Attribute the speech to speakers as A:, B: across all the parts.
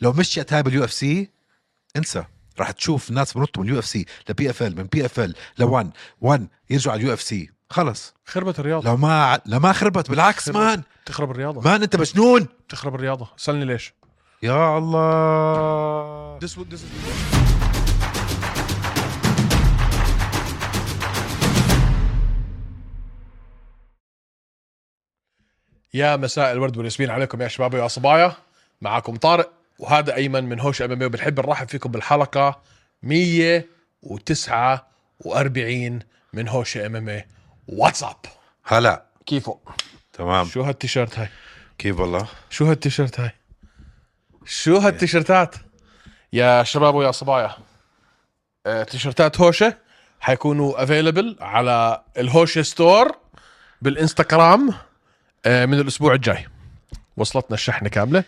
A: لو مشيت هاي باليو اف سي انسى راح تشوف ناس بنطوا من اليو اف سي لبي اف ال من بي اف ال لون 1 يرجعوا على اليو اف سي خلص
B: خربت الرياضه
A: لو ما لو ما خربت بالعكس
B: خربت.
A: مان
B: تخرب الرياضه
A: مان انت مجنون
B: تخرب الرياضه سألني ليش
A: يا الله
B: This would- this is- يا مساء الورد والياسمين عليكم يا شباب ويا صبايا معاكم طارق وهذا ايمن من هوش ام ام وبنحب نرحب فيكم بالحلقه 149 من هوش إيه. ام ام واتساب
A: هلا
B: كيفو
A: تمام
B: شو هالتيشيرت هاي
A: كيف والله
B: شو هالتيشيرت هاي شو هالتيشيرتات إيه. يا شباب ويا صبايا آه، تيشيرتات هوشه حيكونوا افيلبل على الهوشه ستور بالانستغرام آه، من الاسبوع الجاي وصلتنا الشحنه كامله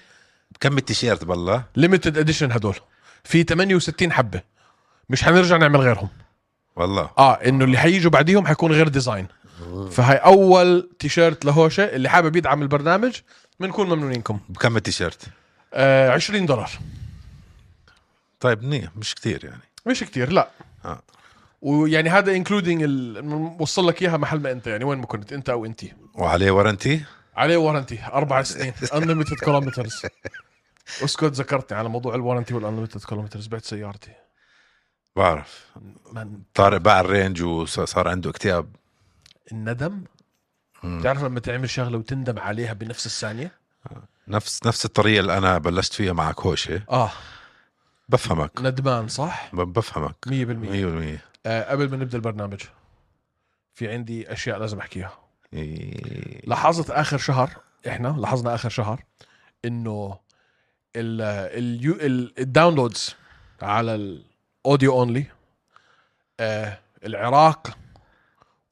A: كم التيشيرت بالله
B: ليمتد اديشن هدول في 68 حبه مش حنرجع نعمل غيرهم
A: والله
B: اه انه اللي حييجوا بعديهم حيكون غير ديزاين فهاي اول تيشيرت لهوشه اللي حابب يدعم البرنامج بنكون ممنونينكم
A: بكم التيشيرت
B: آه 20 دولار
A: طيب منيح مش كتير يعني
B: مش كتير لا
A: آه.
B: ويعني هذا انكلودينج وصل لك اياها محل ما انت يعني وين ما كنت انت او انتي
A: وعليه ورنتي
B: عليه ورنتي اربع سنين انليمتد كيلومترز اسكت ذكرتني على موضوع الورنتي والانليمتد كيلومترز بعت سيارتي
A: بعرف
B: من
A: طارق باع الرينج وصار عنده اكتئاب
B: الندم بتعرف لما تعمل شغله وتندم عليها بنفس الثانيه
A: نفس نفس الطريقه اللي انا بلشت فيها معك هوشه
B: اه
A: بفهمك
B: ندمان صح
A: ب- بفهمك
B: 100%
A: 100%
B: آه قبل ما نبدا البرنامج في عندي اشياء لازم احكيها
A: إيه.
B: لاحظت اخر شهر احنا لاحظنا اخر شهر انه ال اليو ال- الداونلودز على الاوديو اونلي آه العراق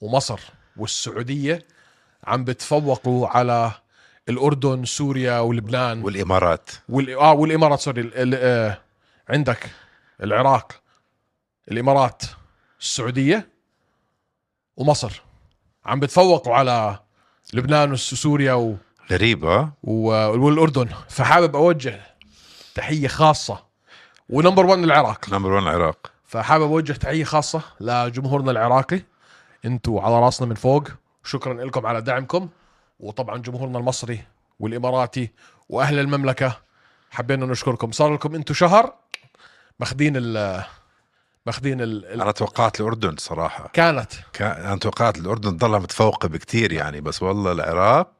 B: ومصر والسعوديه عم بتفوقوا على الاردن سوريا ولبنان
A: والامارات
B: وال... آه والامارات سوري ال... ال... آه عندك العراق الامارات السعوديه ومصر عم بتفوقوا على لبنان وسوريا و...
A: غريب ها
B: و... والاردن فحابب اوجه تحيه خاصه ونمبر 1 العراق
A: نمبر 1 العراق
B: فحابب اوجه تحيه خاصه لجمهورنا العراقي انتوا على راسنا من فوق شكرا لكم على دعمكم وطبعا جمهورنا المصري والاماراتي واهل المملكه حبينا نشكركم صار لكم انتوا شهر ماخذين ال ماخذين ال ال-
A: انا توقعت الاردن صراحه
B: كانت
A: كان انا توقعت الاردن ضلها متفوقه بكتير يعني بس والله العراق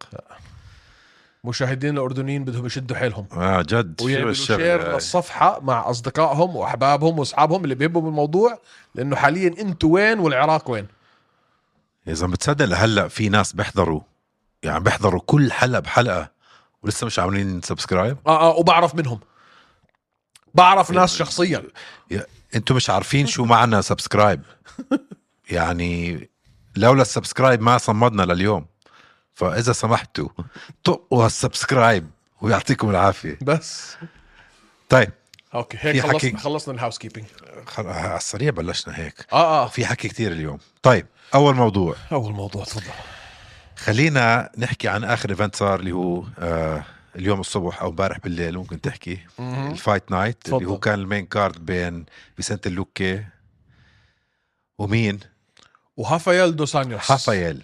B: مشاهدين الاردنيين بدهم يشدوا حيلهم
A: اه جد شو
B: ويعملوا
A: الشغل
B: شير
A: هاي؟
B: للصفحه مع اصدقائهم واحبابهم واصحابهم اللي بيحبوا بالموضوع لانه حاليا انتوا وين والعراق وين
A: يا زلمه بتصدق لهلا في ناس بيحضروا يعني بيحضروا كل حلقه بحلقه ولسه مش عاملين سبسكرايب
B: اه اه وبعرف منهم بعرف ناس شخصيا
A: انتم مش عارفين شو معنى سبسكرايب يعني لولا السبسكرايب ما صمدنا لليوم فاذا سمحتوا طقوا هالسبسكرايب ويعطيكم العافيه
B: بس
A: طيب
B: اوكي
A: في
B: هيك
A: حكي.
B: خلصنا خلصنا الهاوس كيبنج
A: خل... على السريع بلشنا هيك
B: اه اه
A: في حكي كتير اليوم طيب اول موضوع
B: اول موضوع تفضل
A: خلينا نحكي عن اخر ايفنت صار اللي هو آه اليوم الصبح او امبارح بالليل ممكن تحكي
B: مهم.
A: الفايت نايت اللي
B: تفضل.
A: هو كان المين كارد بين فيسنت اللوكي ومين
B: وهافايل دوسانيوس
A: حافايل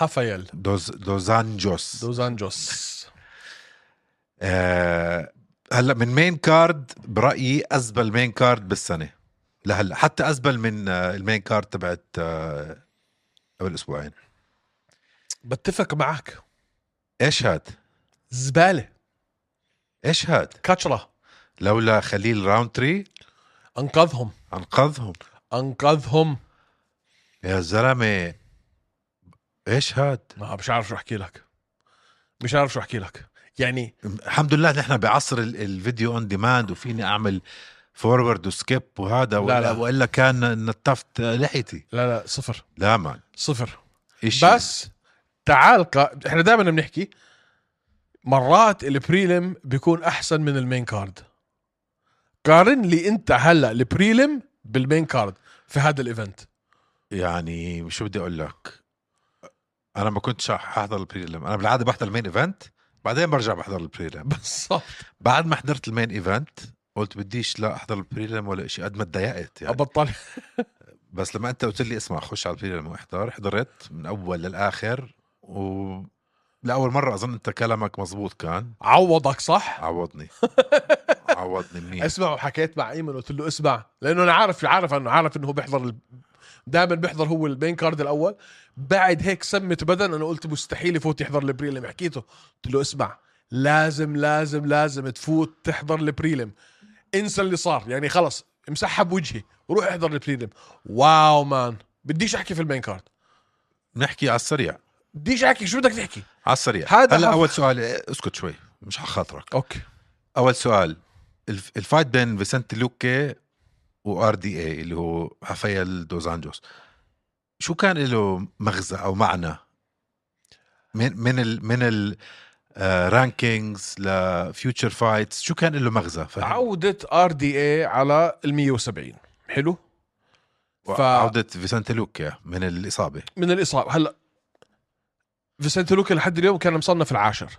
B: هافايل
A: دوز دوزانجوس
B: دوزانجوس
A: آه هلا من مين كارد برايي ازبل مين كارد بالسنه لهلا حتى ازبل من آه المين كارد تبعت آه قبل اسبوعين
B: بتفق معك
A: ايش هاد
B: زباله
A: ايش هاد
B: كتره
A: لولا خليل راونتري
B: انقذهم
A: انقذهم
B: انقذهم
A: يا زلمه ايش هاد
B: ما مش عارف شو احكي لك مش عارف شو احكي لك يعني
A: الحمد لله نحن بعصر ال- الفيديو اون ديماند وفيني اعمل فورورد وسكيب وهذا ولا,
B: لا.
A: والا كان نتفت لحيتي
B: لا لا صفر
A: لا مان
B: صفر
A: إشي.
B: بس تعال ق- احنا دائما بنحكي مرات البريلم بيكون احسن من المين كارد قارن لي انت هلا البريلم بالمين كارد في هذا الايفنت
A: يعني شو بدي اقول لك انا ما كنتش حاحضر البريلم انا بالعاده بحضر المين ايفنت بعدين برجع بحضر البريلم
B: بالضبط
A: بعد ما حضرت المين ايفنت قلت بديش لا احضر البريلم ولا شيء قد ما تضايقت يعني
B: ابطل
A: بس لما انت قلت لي اسمع خش على البريلم واحضر حضرت من اول للاخر و لاول مره اظن انت كلامك مزبوط كان
B: عوضك صح
A: عوضني عوضني منيح
B: اسمع وحكيت مع ايمن قلت له اسمع لانه انا عارف عارف انه عارف انه هو بيحضر ال... دائما بيحضر هو المين كارد الاول بعد هيك سمت بدن انا قلت مستحيل يفوت يحضر البريلم حكيته قلت له اسمع لازم لازم لازم تفوت تحضر البريلم انسى اللي صار يعني خلص امسحها بوجهي روح احضر البريلم واو مان بديش احكي في المين كارد
A: نحكي على السريع
B: بديش احكي شو بدك تحكي
A: على السريع
B: هذا
A: هلا
B: حف-
A: اول سؤال اسكت شوي مش على خاطرك
B: اوكي
A: اول سؤال الف- الفايت بين فيسنتي لوكي وار دي اي اللي هو رافائيل دوز انجوس شو كان له مغزى او معنى من من ال من ال آه، رانكينجز لفيوتشر فايتس شو كان له مغزى فهم؟
B: عودة ار دي اي على ال 170 حلو ف-
A: عودة فيسنتي لوكي من الاصابه
B: من الاصابه هلا فيسنتي لوكا لحد اليوم كان مصنف العاشر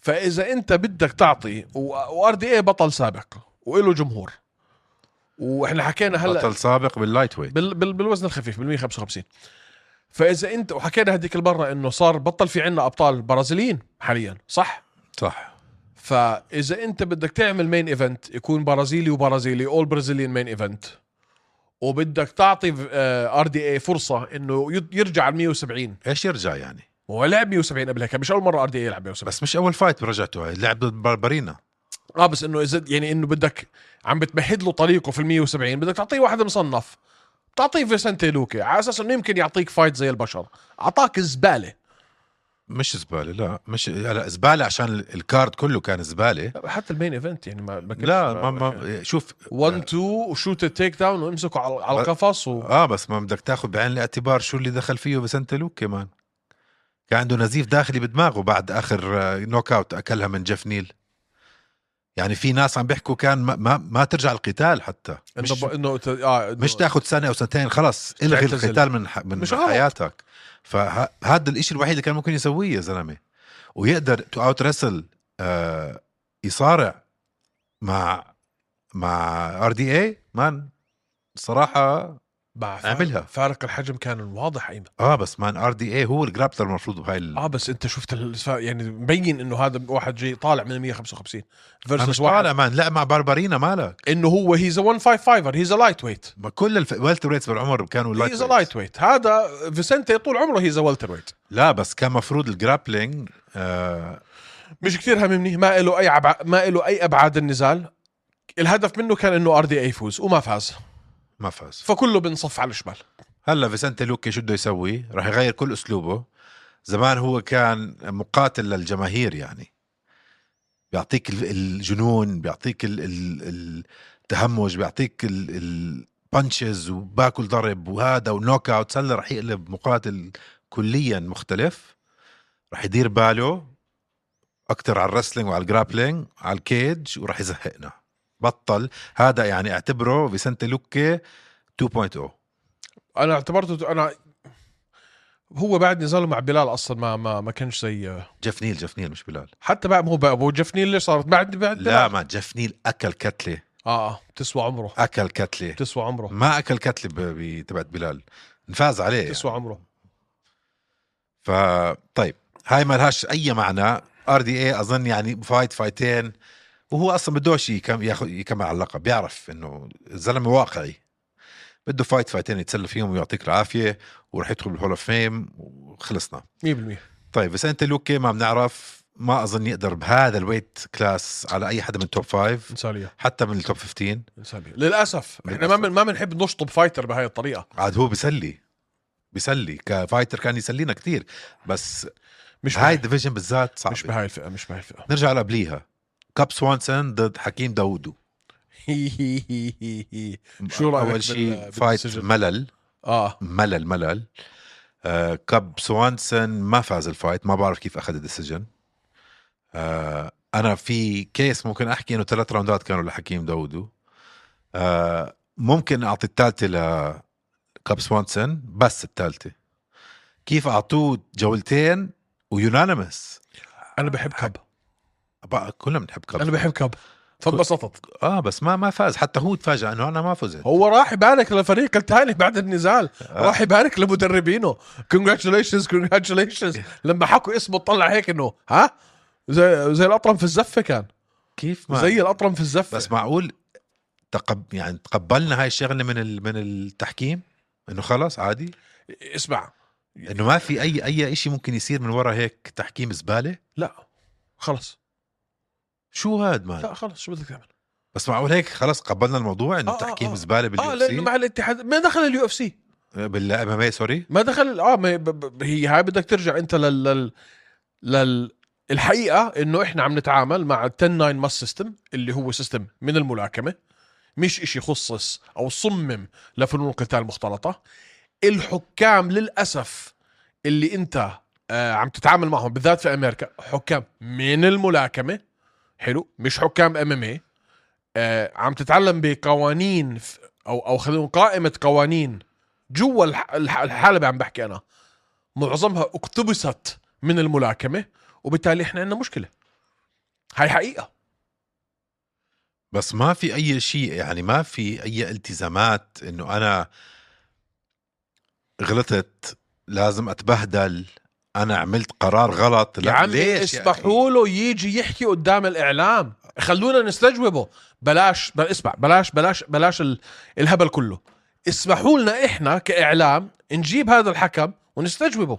B: فاذا انت بدك تعطي وار دي اي بطل سابق وإله جمهور واحنا حكينا هلا
A: بطل سابق باللايت ويت
B: بال بال بالوزن الخفيف بال 155 فاذا انت وحكينا هذيك المره انه صار بطل في عنا ابطال برازيليين حاليا صح
A: صح
B: فاذا انت بدك تعمل مين ايفنت يكون برازيلي وبرازيلي اول برازيليان مين ايفنت وبدك تعطي ار دي إيه اي فرصه انه يد- يرجع على 170
A: ايش يرجع يعني
B: هو لعب 170 قبل هيك مش اول مره ار دي اي يلعب 170
A: بس مش اول فايت برجعته هاي لعب ضد باربرينا
B: اه بس انه اذا يعني انه بدك عم بتمهد له طريقه في ال 170 بدك تعطيه واحد مصنف تعطيه فيسنتي لوكي على اساس انه يمكن يعطيك فايت زي البشر اعطاك زباله
A: مش زباله لا مش لا زباله عشان الكارد كله كان زباله
B: حتى المين ايفنت يعني ما ما كانش-
A: لا ما ما شوف
B: 1 2 وشوت التيك داون وامسكوا على على القفص و...
A: اه بس ما بدك تاخذ بعين الاعتبار شو اللي دخل فيه بسنت لوك كمان كان عنده نزيف داخلي بدماغه بعد اخر آه، نوك اوت اكلها من جيف نيل يعني في ناس عم بيحكوا كان ما ما, ما ترجع القتال حتى
B: انه
A: مش,
B: ب... انه ت- آه إنه-
A: مش تاخذ سنه او سنتين خلص الغي
B: تعتزل.
A: القتال من ح... من
B: مش
A: مش
B: غلط.
A: حياتك فهذا الاشي الوحيد اللي كان ممكن يسويه يا زلمه ويقدر تو اوت رسل آه يصارع مع مع ار دي اي مان صراحه
B: مع فارق-
A: اعملها.
B: فارق الحجم كان واضح ايمن
A: اه بس مان ار دي اي هو الجرابتر المفروض بهاي ال...
B: اه بس انت شفت الف- يعني مبين انه هذا واحد جاي طالع من 155
A: أنا مش
B: فيرسس واحد
A: طالع مان لا مع باربرينا مالك
B: انه هو هيز 155 هيز لايت ويت
A: ما كل الف... والتر ويتس بالعمر كانوا
B: هيز
A: ويتس.
B: لايت ويت هذا فيسنتي طول عمره هيز والتر ويت
A: لا بس كان مفروض الجرابلينج آه
B: مش كثير هممني ما له اي عب... ما له اي ابعاد النزال الهدف منه كان انه ار دي اي يفوز وما فاز
A: ما فاز
B: فكله بنصف على الشمال
A: هلا فيسنتي لوكي شو بده يسوي؟ راح يغير كل اسلوبه زمان هو كان مقاتل للجماهير يعني بيعطيك ال- الجنون بيعطيك ال- ال- التهمج بيعطيك البانشز وباكل ضرب وهذا ونوك اوت هلا راح يقلب مقاتل كليا مختلف راح يدير باله اكثر على الرسلينج وعلى الجرابلينج على الكيج وراح يزهقنا بطل هذا يعني اعتبره فيسنتي لوكي oh. 2.0
B: انا اعتبرته انا هو بعد نزاله مع بلال اصلا ما ما ما كانش زي
A: جيف نيل جيف نيل مش بلال
B: حتى بعد ما هو بقى ابو جفنيل ليش صارت بعد بعد بلال.
A: لا ما جيف نيل اكل كتله
B: اه اه بتسوى عمره
A: اكل كتله
B: بتسوى عمره
A: ما اكل كتله ب- ب- تبعت بلال انفاز عليه يعني.
B: بتسوى عمره
A: ف طيب هاي ما لهاش اي معنى ار دي اي اظن يعني فايت فايتين وهو اصلا بدوش يكم- ياخذ يكمل على اللقب بيعرف انه الزلمه واقعي بده فايت فايتين يتسلى فيهم ويعطيك العافيه ورح يدخل بالهول اوف فيم وخلصنا
B: 100%
A: طيب بس انت لوكي ما بنعرف ما اظن يقدر بهذا الويت كلاس على اي حدا من التوب فايف
B: انسى لي إياه،
A: حتى من التوب 15
B: انسى لي إياه. للاسف احنا ما من ما بنحب نشطب فايتر بهاي الطريقه
A: عاد هو بيسلي بيسلي كفايتر كان يسلينا كتير بس
B: مش
A: هاي
B: بهاي-
A: الديفيجن بالذات
B: مش
A: صعبه
B: بهاي الفئه مش بهاي الفئه
A: نرجع لقبليها كاب سوانسون ضد حكيم داوودو
B: شو رأيك بال-
A: اول شيء
B: بال-
A: فايت
B: بالديسيجن؟
A: ملل
B: اه
A: ملل ملل آه كاب سوانسون ما فاز الفايت ما بعرف كيف اخذ الديسيجن آه انا في كيس ممكن احكي انه ثلاث راوندات كانوا لحكيم داوودو آه ممكن اعطي الثالثه لكاب سوانسون بس الثالثه كيف اعطوه جولتين ويونانيمس
B: انا بحب كب
A: بقى كلنا بنحب كاب
B: انا بحب كب فانبسطت
A: اه بس ما ما فاز حتى هو تفاجأ انه انا ما فزت
B: هو راح يبارك للفريق الثاني بعد النزال
A: آه.
B: راح يبارك لمدربينه كونجراتيوليشنز كونجراتيوليشنز لما حكوا اسمه طلع هيك انه ها زي زي الاطرم في الزفه كان
A: آه، كيف ما
B: زي الاطرم في الزفه
A: بس معقول تقب يعني تقبلنا هاي الشغله من ال... من التحكيم انه خلص عادي
B: اسمع
A: انه ما في اي اي شيء ممكن يصير من ورا هيك تحكيم زباله
B: لا خلص
A: شو هاد مان
B: لا خلص شو بدك تعمل
A: بس معقول هيك خلص قبلنا الموضوع انه
B: آه، آه،
A: تحكيم
B: آه.
A: زباله
B: اه
A: باليو
B: لانه
A: سي
B: مع الاتحاد ما دخل اليو اف سي
A: بالام ام اي سوري
B: ما دخل اه ما ب- ب- هي هاي بدك ترجع انت لل لل, لل... الحقيقه انه احنا عم نتعامل مع 10 9 ماس سيستم اللي هو سيستم من الملاكمه مش إشي خصص او صمم لفنون القتال المختلطه الحكام للاسف اللي انت آه عم تتعامل معهم بالذات في امريكا حكام من الملاكمه حلو مش حكام ام ام اي آه، عم تتعلم بقوانين ف- او او خلينا نقول قائمه قوانين جوا الح- الح- الحلبة عم بحكي أنا معظمها اقتبست من الملاكمة وبالتالي احنا عندنا مشكلة هاي حقيقة
A: بس ما في اي شيء يعني ما في اي التزامات انه انا غلطت لازم اتبهدل انا عملت قرار غلط
B: يا
A: لا
B: عمي
A: ليش يعني؟ يا أخي؟
B: يعني اسمحوا له يجي يحكي قدام الإعلام خلونا نستجوبه بلاش بل اسمع بلاش بلاش بلاش ال... الهبل كله اسمحوا لنا احنا كإعلام نجيب هذا الحكم ونستجوبه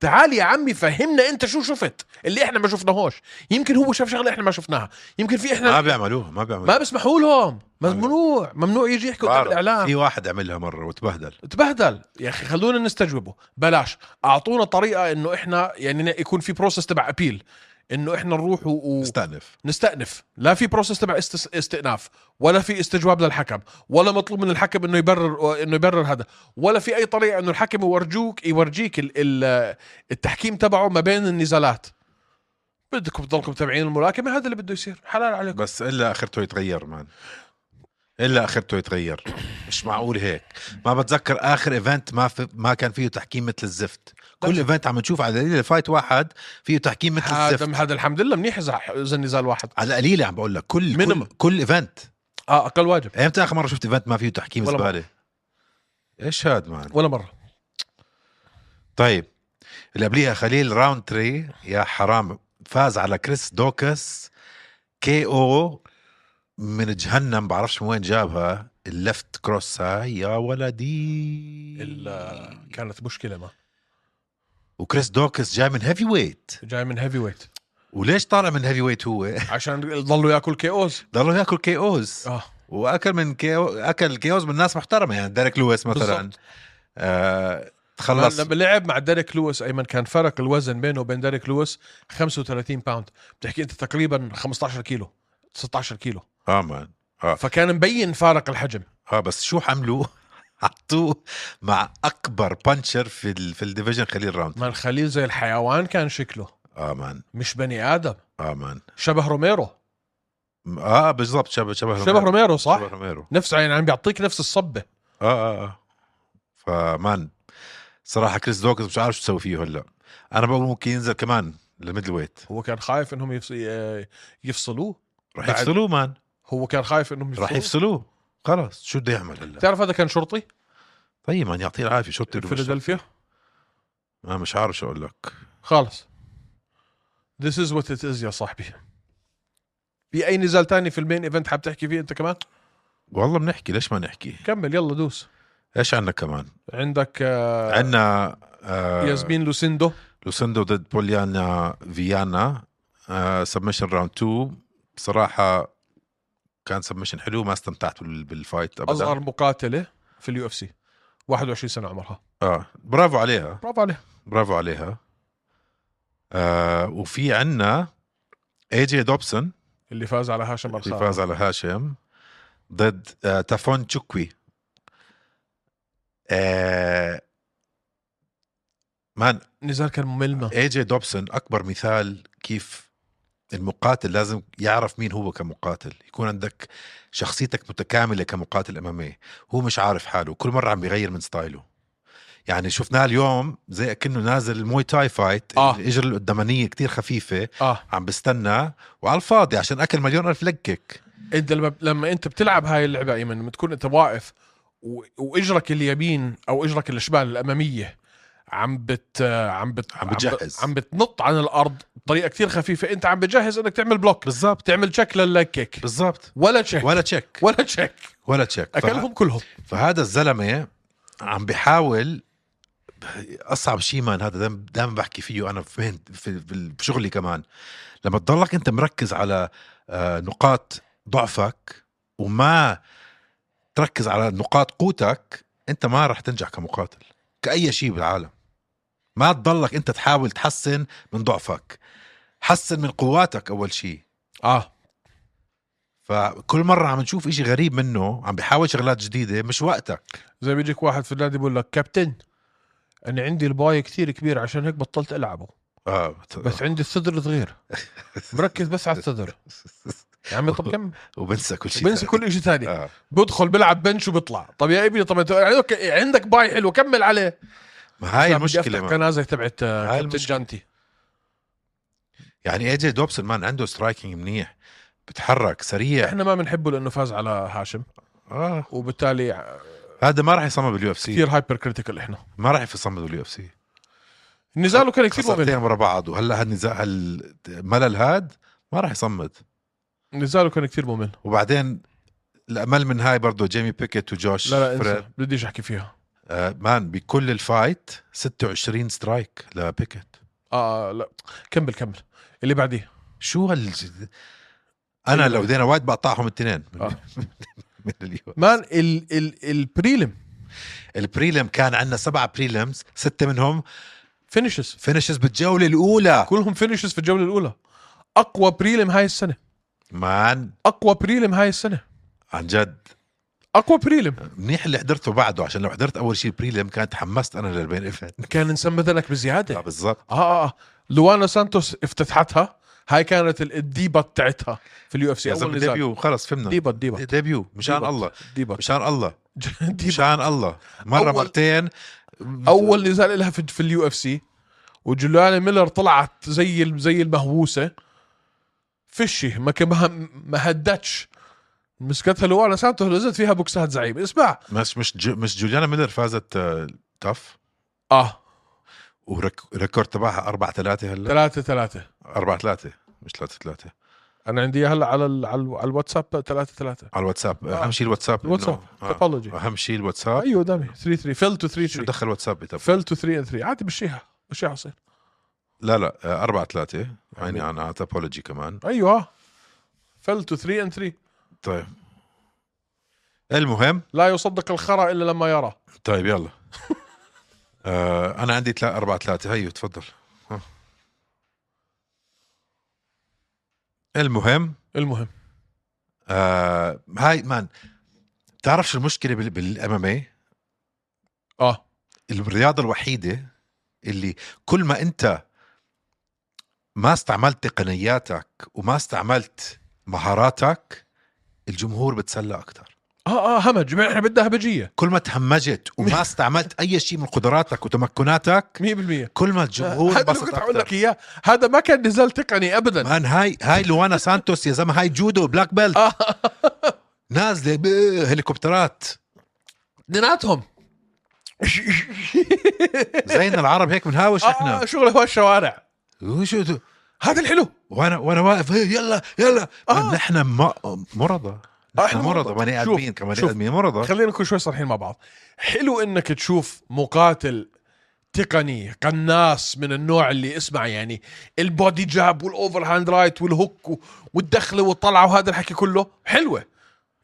B: تعال يا عمي فهمنا انت شو شفت اللي احنا ما شفناهوش يمكن هو شاف شغله احنا ما شفناها يمكن في احنا
A: ما بيعملوها ما بيعملوها
B: ما بيسمحوا لهم
A: ما
B: ممنوع ممنوع يجي يحكي قدام
A: بعرف.
B: الاعلام
A: في واحد عملها مره وتبهدل
B: تبهدل يا اخي خلونا نستجوبه بلاش اعطونا طريقه انه احنا يعني يكون في بروسس تبع ابيل انه احنا نروح و...
A: استأنف
B: نستأنف لا في بروسس تبع است... استئناف ولا في استجواب للحكم ولا مطلوب من الحكم انه يبرر انه يبرر هذا ولا في اي طريقه انه الحكم يورجوك يورجيك ال... ال... التحكيم تبعه ما بين النزالات بدكم تضلكم تابعين الملاكمه هذا اللي بده يصير حلال عليكم
A: بس الا اخرته يتغير مان الا اخرته يتغير مش معقول هيك ما بتذكر اخر ايفنت ما في ما كان فيه تحكيم مثل الزفت كل
B: لا.
A: ايفنت عم نشوف على القليله فايت واحد فيه تحكيم مثل الزفت
B: طيب. هذا هذا الحمد لله منيح اذا اذا النزال واحد
A: على القليله عم بقول لك كل كل,
B: Minimum.
A: كل ايفنت
B: اه اقل واجب
A: امتى اخر مره شفت ايفنت ما فيه تحكيم
B: ولا مرة.
A: زباله ايش هاد مان
B: ولا مره
A: طيب اللي قبليها خليل راوند تري يا حرام فاز على كريس دوكس كي او من جهنم بعرفش من وين جابها اللفت كروس هاي يا ولدي
B: الا كانت مشكله ما
A: وكريس دوكس جاي من هيفي ويت
B: جاي من هيفي ويت
A: وليش طالع من هيفي ويت هو
B: عشان ضلوا ياكل كي اوز
A: ضلوا ياكل كي اوز
B: اه
A: واكل من كي أو... اكل كي اوز من ناس محترمه يعني ديريك لويس مثلا
B: بالضبط.
A: آه... تخلص
B: لما لعب مع ديريك لويس ايمن كان فرق الوزن بينه وبين ديريك لويس 35 باوند بتحكي انت تقريبا 15 كيلو 16 كيلو
A: اه مان
B: فكان مبين فارق الحجم
A: اه بس شو عملوا؟ حطوه مع اكبر بانشر في ال... في الديفيجن خليل راوند
B: ما الخليل زي الحيوان كان شكله
A: اه مان
B: مش بني ادم
A: اه مان
B: شبه روميرو
A: اه بالضبط شبه شبه
B: شبه روميرو صح
A: شبه روميرو
B: نفس يعني عم بيعطيك نفس الصبه
A: اه اه اه فمان صراحه كريس دوكس مش عارف شو تسوي فيه هلا انا بقول ممكن ينزل كمان للميدل ويت
B: هو كان خايف انهم يفص- آه، يفصلوه
A: رح
B: بعد-
A: يفصلوه مان
B: هو كان خايف انهم
A: رح
B: يفصلوه
A: يفصلوه خلص شو بده يعمل هلا
B: بتعرف هذا كان شرطي
A: طيب مان يعطيه العافيه شو بده يعمل؟
B: فيلادلفيا
A: آه مش عارف شو اقول لك
B: خالص This is what it is يا صاحبي في اي نزال تاني في المين ايفنت حاب تحكي فيه انت كمان
A: والله بنحكي ليش ما نحكي
B: كمل يلا دوس
A: ايش عندنا كمان
B: عندك آه،
A: عندنا آه
B: ياسمين لوسيندو
A: لوسندو ضد بوليانا فيانا آه، سبمشن راوند 2 بصراحه كان سبمشن حلو ما استمتعت بال- بالفايت ابدا
B: اصغر مقاتله في اليو اف سي 21 سنه عمرها
A: اه برافو عليها
B: برافو عليها
A: برافو عليها آه وفي عنا اي جي دوبسون
B: اللي فاز على هاشم
A: اللي
B: الخالد
A: فاز على هاشم ضد آه تافون تشوكوي آه مان
B: نزال كان مملنا
A: اي إيه جي دوبسون اكبر مثال كيف المقاتل لازم يعرف مين هو كمقاتل يكون عندك إيه. شخصيتك متكامله كمقاتل امامي هو مش عارف حاله كل مره عم بيغير من ستايله يعني شفناه اليوم زي كأنه نازل موي تاي فايت
B: آه.
A: الاجر القدامانيه كتير خفيفه
B: اه
A: عم بستنى وعلى الفاضي عشان اكل مليون الف لج كيك
B: انت لما, لما انت بتلعب هاي اللعبه ايمن لما تكون انت واقف و... واجرك اليمين او اجرك الشمال الاماميه عم بت عم بت
A: عم بتجهز.
B: عم بتنط عن الارض بطريقه كثير خفيفه انت عم بتجهز انك تعمل بلوك
A: بالضبط
B: تعمل تشيك لللاج كيك
A: بالضبط
B: ولا تشيك
A: ولا تشيك
B: ولا تشيك
A: ولا تشيك ف-
B: اكلهم كلهم
A: فهذا الزلمه عم بحاول اصعب شيء مان هذا دائما دايما بحكي فيه انا فين في في- بشغلي كمان لما تضلك انت مركز على آه، نقاط ضعفك وما تركز على نقاط قوتك انت ما راح تنجح كمقاتل كاي شيء بالعالم ما تضلك انت تحاول تحسن من ضعفك حسن من قواتك اول شيء
B: اه
A: فكل مره عم نشوف إشي غريب منه عم بيحاول شغلات جديده مش وقتك
B: زي بيجيك واحد في النادي بيقول لك كابتن انا عندي الباي كثير كبير عشان هيك بطلت العبه
A: اه
B: بس عندي الصدر صغير مركز بس على الصدر يا عمي طب كمل
A: وبنسى كل شيء
B: بنسى كل شيء ثاني
A: آه.
B: بدخل بلعب بنش وبيطلع طب يا ابني طب انت يعني اوكي عندك باي حلو كمل عليه
A: ما هاي
B: لا، بدي
A: المشكله
B: افتح
A: ما.
B: كنازه تبعت آه،
A: هاي
B: كابتن
A: المشكلة.
B: جانتي
A: يعني اي جي دوبسون مان عنده سترايكنج منيح بتحرك سريع
B: احنا ما بنحبه لانه فاز على هاشم
A: اه
B: وبالتالي آه،
A: هذا ما راح يصمد باليو اف سي
B: كثير هايبر كريتيكال احنا
A: ما راح يصمد باليو اف سي
B: نزاله كان كثير ممل
A: خسارتين ورا بعض وهلا هالنزاع الملل هاد ما راح يصمد
B: نزاله كان كثير ممل
A: وبعدين الامل من هاي برضه جيمي بيكيت وجوش
B: لا لا
A: فريد.
B: انسى بديش احكي فيها
A: آه مان بكل الفايت 26 سترايك لبيكيت
B: اه لا كمل كمل اللي بعديه
A: شو هال انا لو دينا وايت بقطعهم الاثنين
B: إيه. آه.
A: من اليو
B: مان ال ال البريلم
A: البريلم كان عندنا سبعة بريلمز ستة منهم
B: فينيشز
A: فينشز بالجولة الأولى
B: كلهم فينيشز في الجوله الاولى اقوى بريلم هاي السنه
A: مان
B: اقوى بريلم هاي السنه
A: عن جد
B: اقوى بريلم
A: منيح اللي حضرته بعده عشان لو حضرت أول شيء بريلم كان تحمست أنا للبين ايفنت
B: كان نسمى ذنك بزياده
A: آه، بالضبط
B: اه اه لوانا سانتوس افتتحتها هاي كانت ال- الديبت تاعتها في اليو اف سي
A: يا
B: اول
A: زلمة
B: نزال
A: ديبيو خلص فهمنا
B: ديبت ديبت
A: ديبيو مشان
B: ديبت.
A: إيه، الله
B: ديبت
A: مشان الله
B: ديبت
A: مشان الله مرة
B: أول-
A: مرتين
B: اول نزال لها في, في اليو اف سي وجوليانا ميلر طلعت زي ال- زي المهووسه فشي ما كان- ما ما هدتش مسكتها لوانا سانتوس نزلت فيها بوكسات زعيم اسمع
A: مش مش جو مش جوليانا ميلر فازت آه، تف
B: اه
A: وريكورد تبعها 4 3 هلا
B: ثلاثة ثلاثة
A: 4 3 مش 3 3
B: انا عندي إياها هلا على ال- على ال- على الواتساب ثلاثة ثلاثة
A: على الواتساب
B: آه.
A: اهم شيء الواتساب إنه-
B: الواتساب
A: آه.
B: تابولوجي
A: اهم شيء الواتساب
B: ايوه قدامي 3 3 فيل تو 3
A: شو
B: 3
A: دخل واتساب بتف
B: فيل تو 3 3 عادي مشيها مشيها حصير
A: لا لا آه، أربعة ثلاثة يعني أنا تابولوجي كمان
B: ايوه فيل تو 3 ان 3
A: طيب المهم
B: لا يصدق الخرا الا لما يرى
A: طيب يلا آه أنا عندي تلا أربعة ثلاثة هيو تفضل ها. المهم
B: المهم
A: آه هاي مان تعرف شو المشكلة بال- بالأمامي
B: اه
A: الرياضة الوحيدة اللي كل ما أنت ما استعملت تقنياتك وما استعملت مهاراتك الجمهور بتسلى أكتر
B: اه اه همج ما احنا بدها همجيه
A: كل ما تهمجت وما استعملت اي شيء من قدراتك وتمكناتك
B: 100%
A: كل ما الجمهور
B: هذا اللي
A: انبسط
B: كنت اقول لك
A: اكثر
B: اياه هذا ما كان نزال تقني ابدا
A: مان هاي هاي لوانا سانتوس يا زلمه هاي جودو بلاك بيلت
B: آه.
A: نازله ب- هليكوبترات
B: اثنيناتهم
A: زينا العرب هيك بنهاوش
B: آه آه،
A: احنا
B: شغله هو الشوارع
A: وشو ت-
B: هذا الحلو
A: وانا وانا واقف إيه، يلا يلا
B: آه.
A: مان نحن م- مرضى
B: آه،
A: نحن مرضى بني
B: شوف،
A: ادمين كمان
B: شوف.
A: بني ادمين مرضى
B: خلينا نكون شوي صريحين مع بعض حلو انك تشوف مقاتل تقني قناص من النوع اللي اسمع يعني البودي جاب والاوفر هاند رايت والهوك و- والدخله والطلعه وهذا الحكي كله حلوه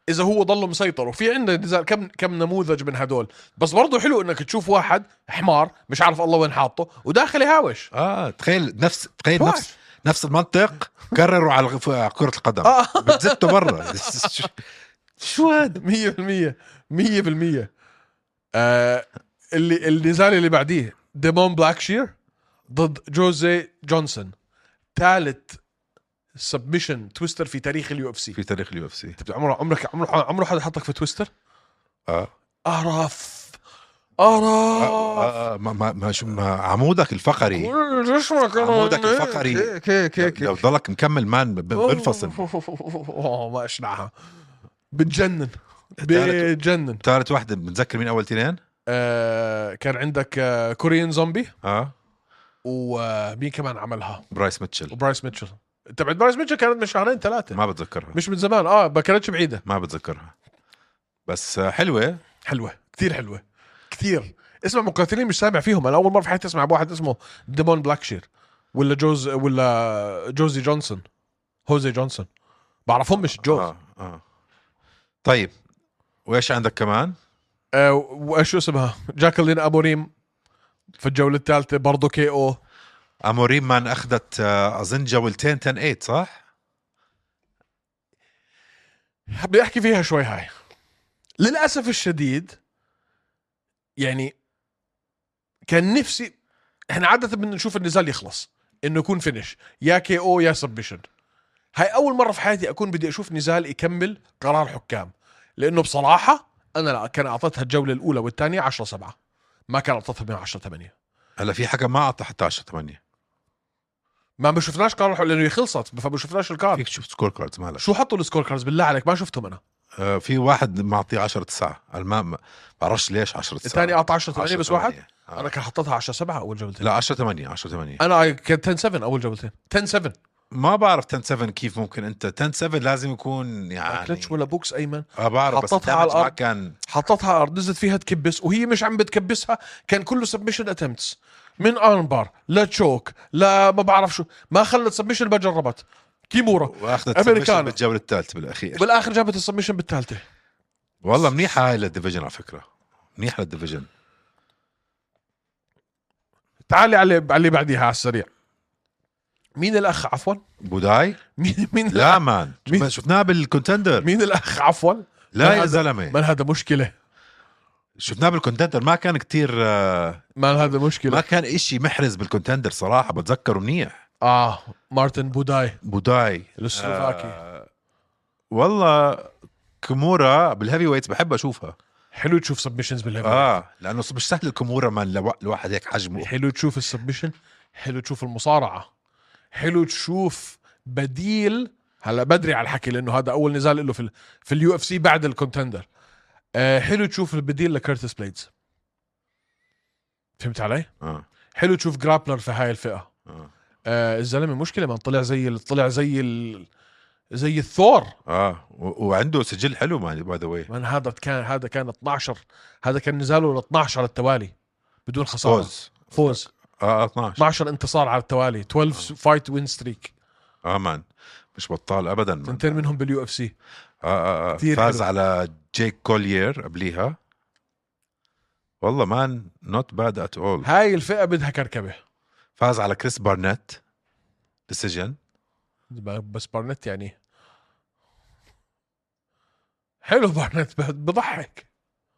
B: اذا هو ضله مسيطر وفي عندنا نزال كم كم نموذج من هدول بس برضه حلو انك تشوف واحد حمار مش عارف الله وين حاطه وداخل يهاوش
A: اه تخيل نفس تخيل
B: واش.
A: نفس نفس المنطق كرروا على الغ- على كره القدم
B: آه.
A: بتزته برا
B: شو هذا 100% 100% آه اللي النزال اللي بعديه ديمون بلاكشير ضد جوزي جونسون ثالث سبمشن تويستر في تاريخ اليو اف سي
A: في تاريخ اليو اف سي آه.
B: انت عمرك عمرك عمره عمره حدا حطك في تويستر
A: اه
B: قرف ارى
A: آه، آه، ما, ما, ما, شو- ما عمودك الفقري
B: كل جسمك أنا-
A: عمودك الفقري.
B: كي كي كي
A: لو ضلك مكمل مان ب- ب- بنفصل
B: اوه ما اشنعها بتجنن
A: تعرف-
B: بتجنن
A: ثالث وحده بتذكر مين اول تنين؟
B: آه كان عندك آه كوريين زومبي
A: اه
B: ومين كمان عملها
A: برايس ميتشل
B: وبرايس ميتشل تبعت برايس ميتشل كانت من شهرين ثلاثه
A: ما بتذكرها
B: مش من زمان اه ما كانتش بعيده
A: ما بتذكرها بس آه، حلوه
B: حلوه كثير حلوه كثير اسمع مقاتلين مش سامع فيهم انا اول مره في حياتي اسمع بواحد اسمه ديمون بلاكشير ولا جوز ولا جوزي جونسون هوزي جونسون بعرفهم مش جوز آه.
A: اه اه طيب وايش عندك كمان؟
B: آه وشو اسمها جاكلين ابوريم في الجوله الثالثه برضه كي او
A: اموريم مان اخذت آه، اظن جولتين 10 8 صح؟
B: بدي احكي فيها شوي هاي للاسف الشديد يعني كان نفسي احنا عاده بدنا نشوف النزال يخلص انه يكون فينش يا كي او يا سبشن هاي اول مره في حياتي اكون بدي اشوف نزال يكمل قرار حكام لانه بصراحه انا لا كان اعطيتها الجوله الاولى والثانيه 10 7 ما كان اعطيتها من 10 8
A: هلا في حكم ما اعطى حتى 10 8
B: ما ما شفناش قرار حكام لانه هي خلصت فما شفناش الكارد
A: فيك تشوف سكور كاردز مالك
B: شو حطوا السكور كاردز بالله عليك ما شفتهم انا
A: آه، في واحد معطيه 10 9 ما ما بعرفش ليش 10 9
B: الثاني اعطى 10 8 بس واحد انا
A: آه.
B: كان حطيتها 10 7 اول جولتين
A: لا 10 8 10 8
B: انا كان 10 7 اول جولتين 10 7
A: ما بعرف 10 7 كيف ممكن انت 10 7 لازم يكون
B: يعني
A: يعني
B: كلتش ولا بوكس ايمن
A: اه بعرف بس
B: حطتها على
A: الدمج ما
B: الأرض.
A: كان
B: حطتها على الارض نزلت فيها تكبس وهي مش عم بتكبسها كان كله سبمشن اتمتس من ارن بار لا تشوك لا ما بعرف شو ما خلت سبمشن ما جربت كيمورا
A: واخذت
B: أمريكانا.
A: سبمشن بالجوله الثالثه بالاخير
B: بالاخر جابت السبمشن بالثالثه
A: والله منيحه هاي للديفيجن على فكره منيحه للديفيجن
B: تعالي على على اللي بعديها على السريع مين الاخ عفوا
A: بوداي
B: مين مين
A: لا مان
B: مين؟
A: شفنا- شفناه بالكونتندر
B: مين الاخ عفوا
A: لا يا
B: هذا-
A: زلمه
B: ما هذا مشكله
A: شفناه بالكونتندر ما كان كتير آه،
B: ما هذا
A: ما
B: مشكله
A: كان إشي محرز بالكونتندر صراحه بتذكره منيح
B: اه مارتن
A: آه.
B: بوداي
A: بوداي
B: السلوفاكي
A: آه، والله كمورا بالهيفي ويتس بحب اشوفها
B: حلو تشوف سبمشنز بالهيفي
A: اه لانه مش سهل الكمورا مان لو- الواحد هيك حجمه
B: حلو تشوف السبمشن حلو تشوف المصارعه حلو تشوف بديل هلا بدري على الحكي لانه هذا اول نزال له في ال في اليو اف سي بعد الكونتندر آه حلو تشوف البديل لكيرتس بليدز فهمت علي؟
A: اه
B: حلو تشوف جرابلر في هاي الفئه
A: اه
B: آه الزلمه مشكله ما طلع زي ال- طلع زي ال زي الثور
A: اه و- وعنده سجل حلو مان باي ذا واي
B: من هذا كان هذا كان 12 هذا كان نزاله ال 12 على التوالي بدون خساره
A: فوز
B: فوز
A: اه آه، 12
B: 12 انتصار على التوالي 12 فايت وين ستريك
A: اه مان مش بطال ابدا مان.
B: تنتين منهم باليو اف سي
A: آه آه آه.
B: كتير
A: فاز
B: حلو.
A: على جيك كولير قبليها والله مان نوت باد ات اول
B: هاي الفئه بدها كركبه
A: فاز على كريس بارنett ديسيجن
B: ب- بس بارنت يعني حلو بارنت ب- بضحك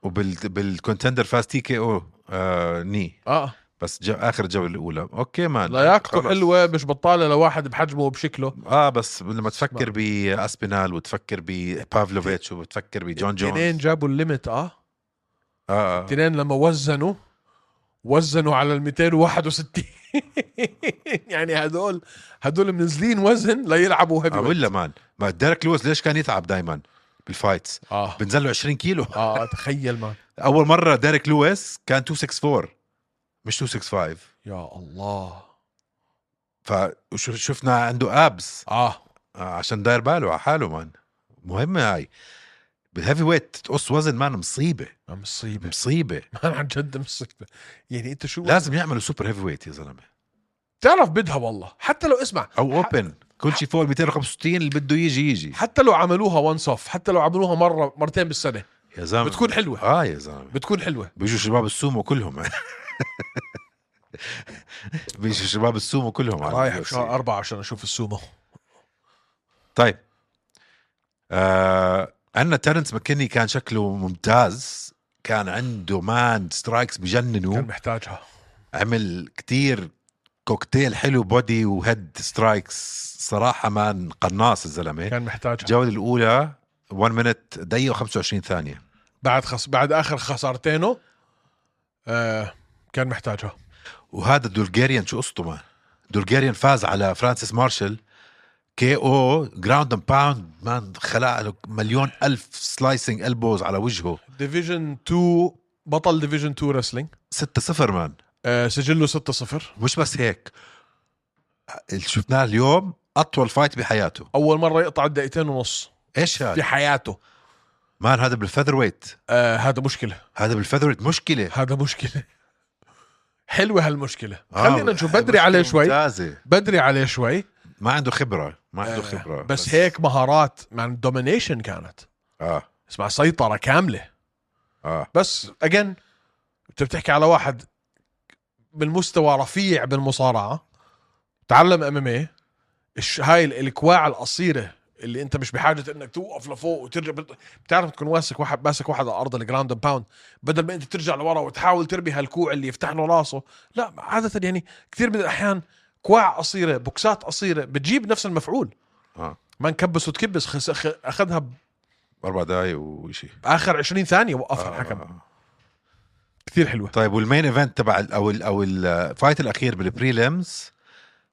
A: وبال بالكونتندر فاز تي كي او آه ني
B: اه
A: بس جو اخر جوله الاولى اوكي مان
B: لياقته
A: خلص.
B: حلوه مش بطاله لواحد بحجمه وبشكله
A: اه بس لما تفكر
B: اسمع.
A: باسبينال وتفكر ببافلوفيتش وتفكر بجون
B: تنين
A: جونز
B: جابوا الليمت اه
A: اه آه.
B: تنين لما وزنوا وزنوا على ال 261 يعني هدول هدول منزلين وزن ليلعبوا
A: آه،
B: هيفي
A: ولا مان ما ديريك لويس ليش كان يتعب دائما بالفايتس
B: اه
A: بنزل له 20 كيلو
B: اه تخيل ما
A: اول مره ديريك لويس كان 264 مش 265
B: يا الله
A: فشفنا عنده ابس
B: اه
A: عشان داير باله على حاله مان مهمه هاي بالهيفي ويت تقص وزن مان مصيبه
B: مصيبه
A: مصيبه
B: مان عن جد مصيبه يعني انت شو
A: لازم يعملوا سوبر هيفي ويت يا زلمه
B: تعرف بدها والله حتى لو اسمع
A: او اوبن كل شيء فوق ال 265 اللي بده يجي يجي
B: حتى لو عملوها وان صف حتى لو عملوها مره مرتين بالسنه
A: يا زلمه
B: بتكون حلوه
A: اه يا زلمه
B: بتكون حلوه
A: بيجوا شباب السومو كلهم بيجوا شباب السومو كلهم على
B: رايح
A: ال UFC.
B: بشهر أربعة عشان أشوف السومو
A: طيب آه عندنا تيرنس ماكيني كان شكله ممتاز كان عنده مان سترايكس
B: كان
A: بجننوا
B: محتاجها
A: عمل كتير كوكتيل حلو بودي وهيد سترايكس صراحه مان قناص الزلمه
B: كان محتاجها
A: الجوله الاولى 1 مينت دقيقه و25 ثانيه
B: بعد خص... بعد آخر خسارتينه آه كان محتاجها
A: وهذا دولجاريان شو قصته ما دولجاريان فاز على فرانسيس مارشال كي او جراوند اند باوند مان خلق له مليون الف سلايسنج البوز على وجهه
B: ديفيجن 2 بطل ديفيجن 2 رسلينج
A: 6 0 مان
B: آه سجله 6-0
A: مش بس هيك اللي شفناه اليوم اطول فايت بحياته
B: اول مره يقطع الدقيقتين ونص
A: ايش
B: في
A: هذا
B: حياته
A: مان هذا بالفذر ويت
B: آه هذا مشكله
A: هذا بالفذر ويت مشكله
B: هذا مشكله حلوه هالمشكله
A: آه،
B: خلينا نشوف بدري عليه
A: مشكلة
B: شوي
A: ممتازه
B: بدري عليه شوي
A: ما عنده خبره ما عنده
B: آه،
A: خبره
B: بس هيك مهارات مع الدومينيشن كانت
A: اه
B: اسمع سيطره كامله
A: اه
B: بس اجن انت بتحكي على واحد بالمستوى رفيع بالمصارعه تعلم ام ام اي هاي ال- الكواع القصيره اللي انت مش بحاجه انك توقف لفوق وترجع بت- بتعرف تكون ماسك واحد ماسك واحد على ارض الجراوند أند باوند بدل ما انت ترجع لورا وتحاول تربي هالكوع اللي يفتح له راسه لا عاده يعني كثير من الاحيان كواع قصيره بوكسات قصيره بتجيب نفس المفعول
A: اه
B: ما نكبس وتكبس خس... خ... اخذها
A: اربع دقائق وشيء
B: باخر 20 ثانيه وقفها
A: آه.
B: الحكم كثير حلوه
A: طيب والمين ايفنت تبع ال- او ال او الفايت الاخير بالبريليمز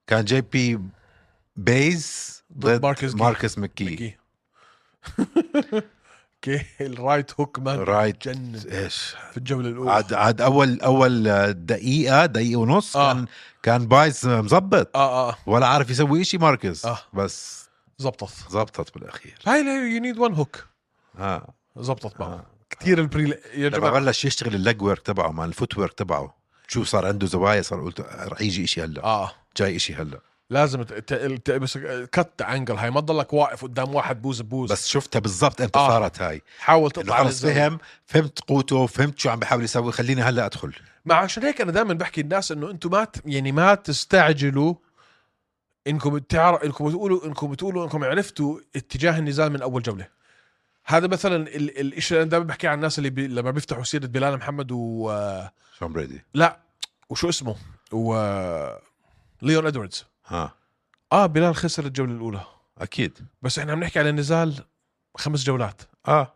A: كان جي بي بيز
B: ضد
A: ضد
B: ماركس
A: ماركس,
B: جي.
A: ماركس مكي
B: ميكي اوكي الرايت هوك مان
A: رايت
B: جنن
A: ايش
B: في الجوله الاولى
A: عاد عاد اول اول دقيقه دقيقه ونص
B: آه.
A: آه. كان كان بايز مزبط
B: اه اه
A: ولا عارف يسوي إشي ماركس
B: آه.
A: آه. بس
B: زبطت
A: زبطت بالاخير
B: هاي لا يو نيد وان هوك
A: اه
B: زبطت معه
A: آه.
B: كثير البري يا
A: لما
B: جماعه
A: بلش يشتغل اللج ورك تبعه مع الفوت ورك تبعه شو صار عنده زوايا صار قلت رح يجي إشي هلا
B: اه
A: جاي إشي هلا
B: لازم ت- ت- ت- بس كت انجل هاي ما تضلك واقف قدام واحد بوز بوز بس
A: بس شفتها بالضبط امتى
B: آه.
A: آه. صارت هاي
B: حاول
A: انه
B: تطلع
A: خلص
B: للزاوية.
A: فهم فهمت قوته فهمت شو عم بحاول يسوي خليني هلا ادخل
B: ما عشان هيك انا دائما بحكي للناس انه انتم ما ت- يعني ما تستعجلوا انكم تعرف انكم تقولوا انكم بتقولوا انكم عرفتوا اتجاه النزال من اول جوله هذا مثلا ال- الشيء اللي انا دائما بحكي عن الناس اللي بي لما بيفتحوا سيره بلال محمد و آه،
A: شون بريدي
B: لا وشو اسمه و آه، ليون ادواردز
A: ها
B: اه بلال خسر الجوله الاولى
A: اكيد
B: بس احنا عم نحكي على نزال خمس جولات
A: اه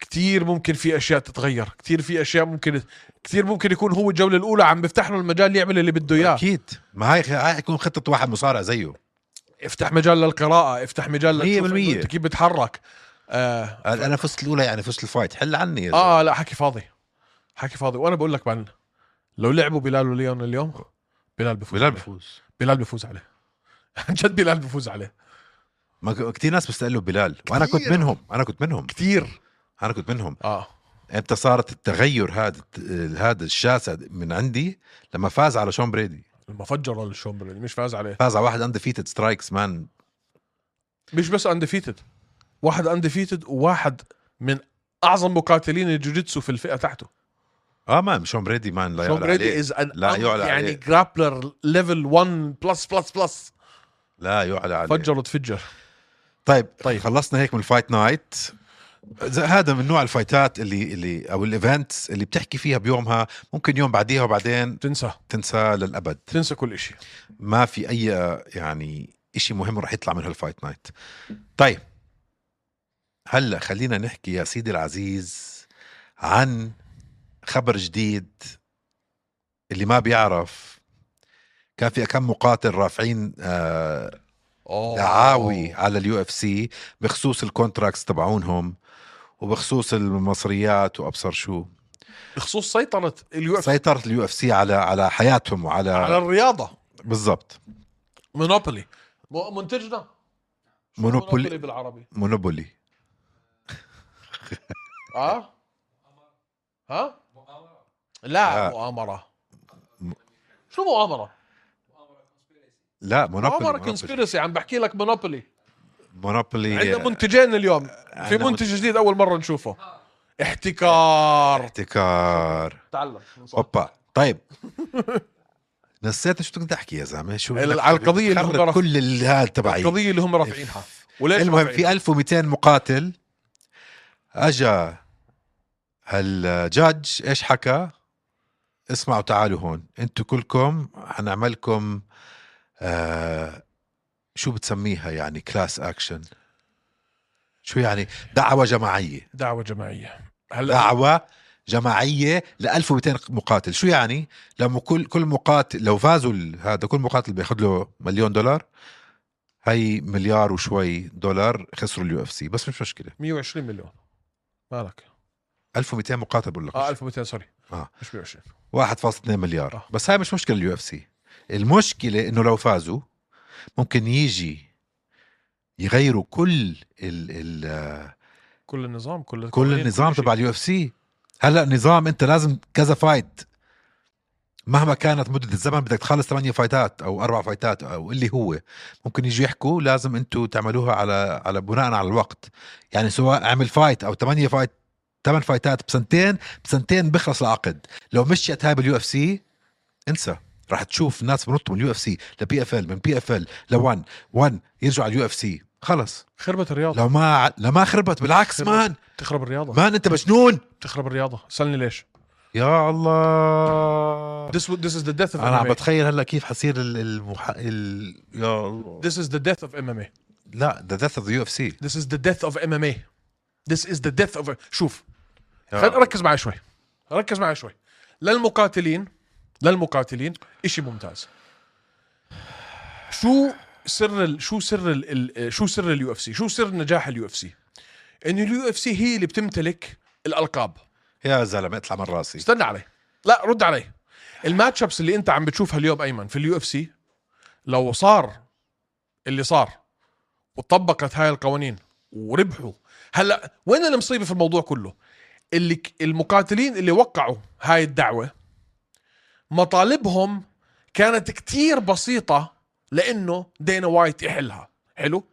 B: كتير ممكن في اشياء تتغير كتير في اشياء ممكن كتير ممكن يكون هو الجوله الاولى عم بيفتح له المجال يعمل اللي بده اياه
A: اكيد ما هاي هاي حيكون خطه واحد مصارع زيه
B: افتح مجال للقراءه افتح مجال
A: مية
B: لتشوف
A: بالمية.
B: إنه انت كيف بتحرك آه,
A: قال انا فزت الاولى يعني فزت الفايت حل عني يا
B: اه لا حكي فاضي حكي فاضي وانا بقول لك بعدين لو لعبوا بلال وليون اليوم بلال بفوز
A: بلال
B: عليه.
A: بفوز
B: بلال بفوز عليه عن جد بلال بفوز عليه
A: ما ك- كتير ناس بيستقلوا بلال وانا كنت
B: كتير.
A: منهم انا كنت منهم
B: كثير
A: انا كنت منهم
B: اه
A: امتى صارت التغير هذا الت- هذا الشاسع من عندي لما فاز على شون بريدي
B: لما فجر الشومبر اللي مش فاز عليه
A: فاز على واحد اندفيتد سترايكس مان
B: مش بس اندفيتد واحد اندفيتد وواحد من اعظم مقاتلين الجوجيتسو في الفئه تحته
A: اه مان شون بريدي مان لا
B: شون
A: يعلى
B: بريدي
A: عليه
B: از ان
A: لا يعلى
B: يعني
A: عليه.
B: جرابلر ليفل 1 بلس بلس بلس
A: لا يعلى عليه
B: فجر وتفجر
A: طيب
B: طيب.
A: طيب خلصنا هيك من الفايت نايت ز- هذا من نوع الفايتات اللي اللي او الايفنتس اللي بتحكي فيها بيومها ممكن يوم بعديها وبعدين
B: تنسى
A: تنسى للابد
B: تنسى كل شيء
A: ما في اي يعني إشي مهم رح يطلع من هالفايت نايت طيب هلا خلينا نحكي يا سيدي العزيز عن خبر جديد اللي ما بيعرف كان في كم مقاتل رافعين آه
B: أوه.
A: دعاوي على اليو اف سي بخصوص الكونتراكتس تبعونهم وبخصوص المصريات وابصر شو
B: بخصوص سيطرة اليو اف
A: سيطره اليو اف سي على على حياتهم
B: على
A: وعلى
B: الرياضة
A: بالضبط
B: مونوبولي م- منتجنا شو
A: مونوبولي.
B: بالعربي
A: مونوبولي
B: اه ها لا
A: لا.
B: مؤامرة
A: م-
B: شو مؤامرة؟ Oh,
A: لا مونوبولي
B: مؤامرة
A: مونوبولي,
B: كونسبيرسي عم بحكي لك مونوبولي
A: مونوبولي
B: عندنا منتجين اليوم في
A: عندنا
B: منتج جديد أول مرة نشوفه احتكار
A: احتكار
B: تعلم
A: اوبا طيب نسيت شو كنت احكي يا زلمه شو
B: ال-
A: بدك-
B: على القضية اللي هم
A: بتخرب
B: بيعرفوا.
A: كل ال- هذا تبعي
B: القضية اللي هم رافعينها وليش
A: المهم
B: رافعينها؟
A: في 1200 مقاتل اجا هالجادج ايش حكى؟ اسمعوا تعالوا هون انتوا كلكم حنعملكم آه شو بتسميها يعني كلاس اكشن شو يعني دعوة جماعية
B: دعوة جماعية هلا
A: دعوة جماعيه ل 1200 مقاتل شو يعني لما كل كل مقاتل لو فازوا ال- هذا كل مقاتل بياخذ له مليون دولار هي مليار وشوي دولار خسروا اليو اف سي بس مش مشكله
B: 120 مليون مالك
A: 1200 مقاتل بقول لك
B: اه 1200 سوري
A: آه.
B: مش 120
A: 1.2 مليار
B: آه.
A: بس هاي مش مشكله اليو اف سي المشكله انه لو فازوا ممكن يجي يغيروا كل ال ال
B: كل النظام كل
A: كل
B: القوانين،
A: النظام
B: شيء.
A: تبع اليو اف سي هلا نظام انت لازم كذا فايت مهما كانت مدة الزمن بدك تخلص ثمانية فايتات أو أربع فايتات أو اللي هو ممكن يجوا يحكوا لازم أنتوا تعملوها على على بناء على الوقت يعني سواء عمل فايت أو ثمانية فايت ثمان فايتات بسنتين بسنتين بخلص العقد لو مشيت هاي باليو اف سي انسى راح تشوف ناس بنطوا من اليو اف سي لبي اف ال من بي اف ال لون ون يرجعوا على اليو اف سي خلص
B: خربت الرياضه
A: لو ما لو ما خربت بالعكس
B: خربت.
A: مان
B: تخرب الرياضه
A: مان انت مجنون
B: تخرب الرياضه سألني ليش
A: يا الله
B: this would- this is the death of
A: انا عم
B: MMA
A: بتخيل هلا كيف حصير ال- المح... ال... يا الله
B: this is the death of MMA
A: لا ذا ديث اوف ذا يو اف سي
B: this is the death of MMA this is the death of شوف
A: آه.
B: خل ركز معي شوي ركز معي شوي للمقاتلين للمقاتلين إشي ممتاز شو سر ال... شو سر ال... ال... شو سر اليو اف سي شو سر نجاح اليو اف سي انه اليو اف سي هي اللي بتمتلك الالقاب
A: يا زلمه اطلع من راسي
B: استنى علي لا رد علي الماتش ابس اللي انت عم بتشوفها اليوم ايمن في اليو اف سي لو صار اللي صار وطبقت هاي القوانين وربحوا هلا وين المصيبه في الموضوع كله اللي ك- المقاتلين اللي وقعوا هاي الدعوه مطالبهم كانت كتير بسيطه لانه دينا وايت يحلها حلو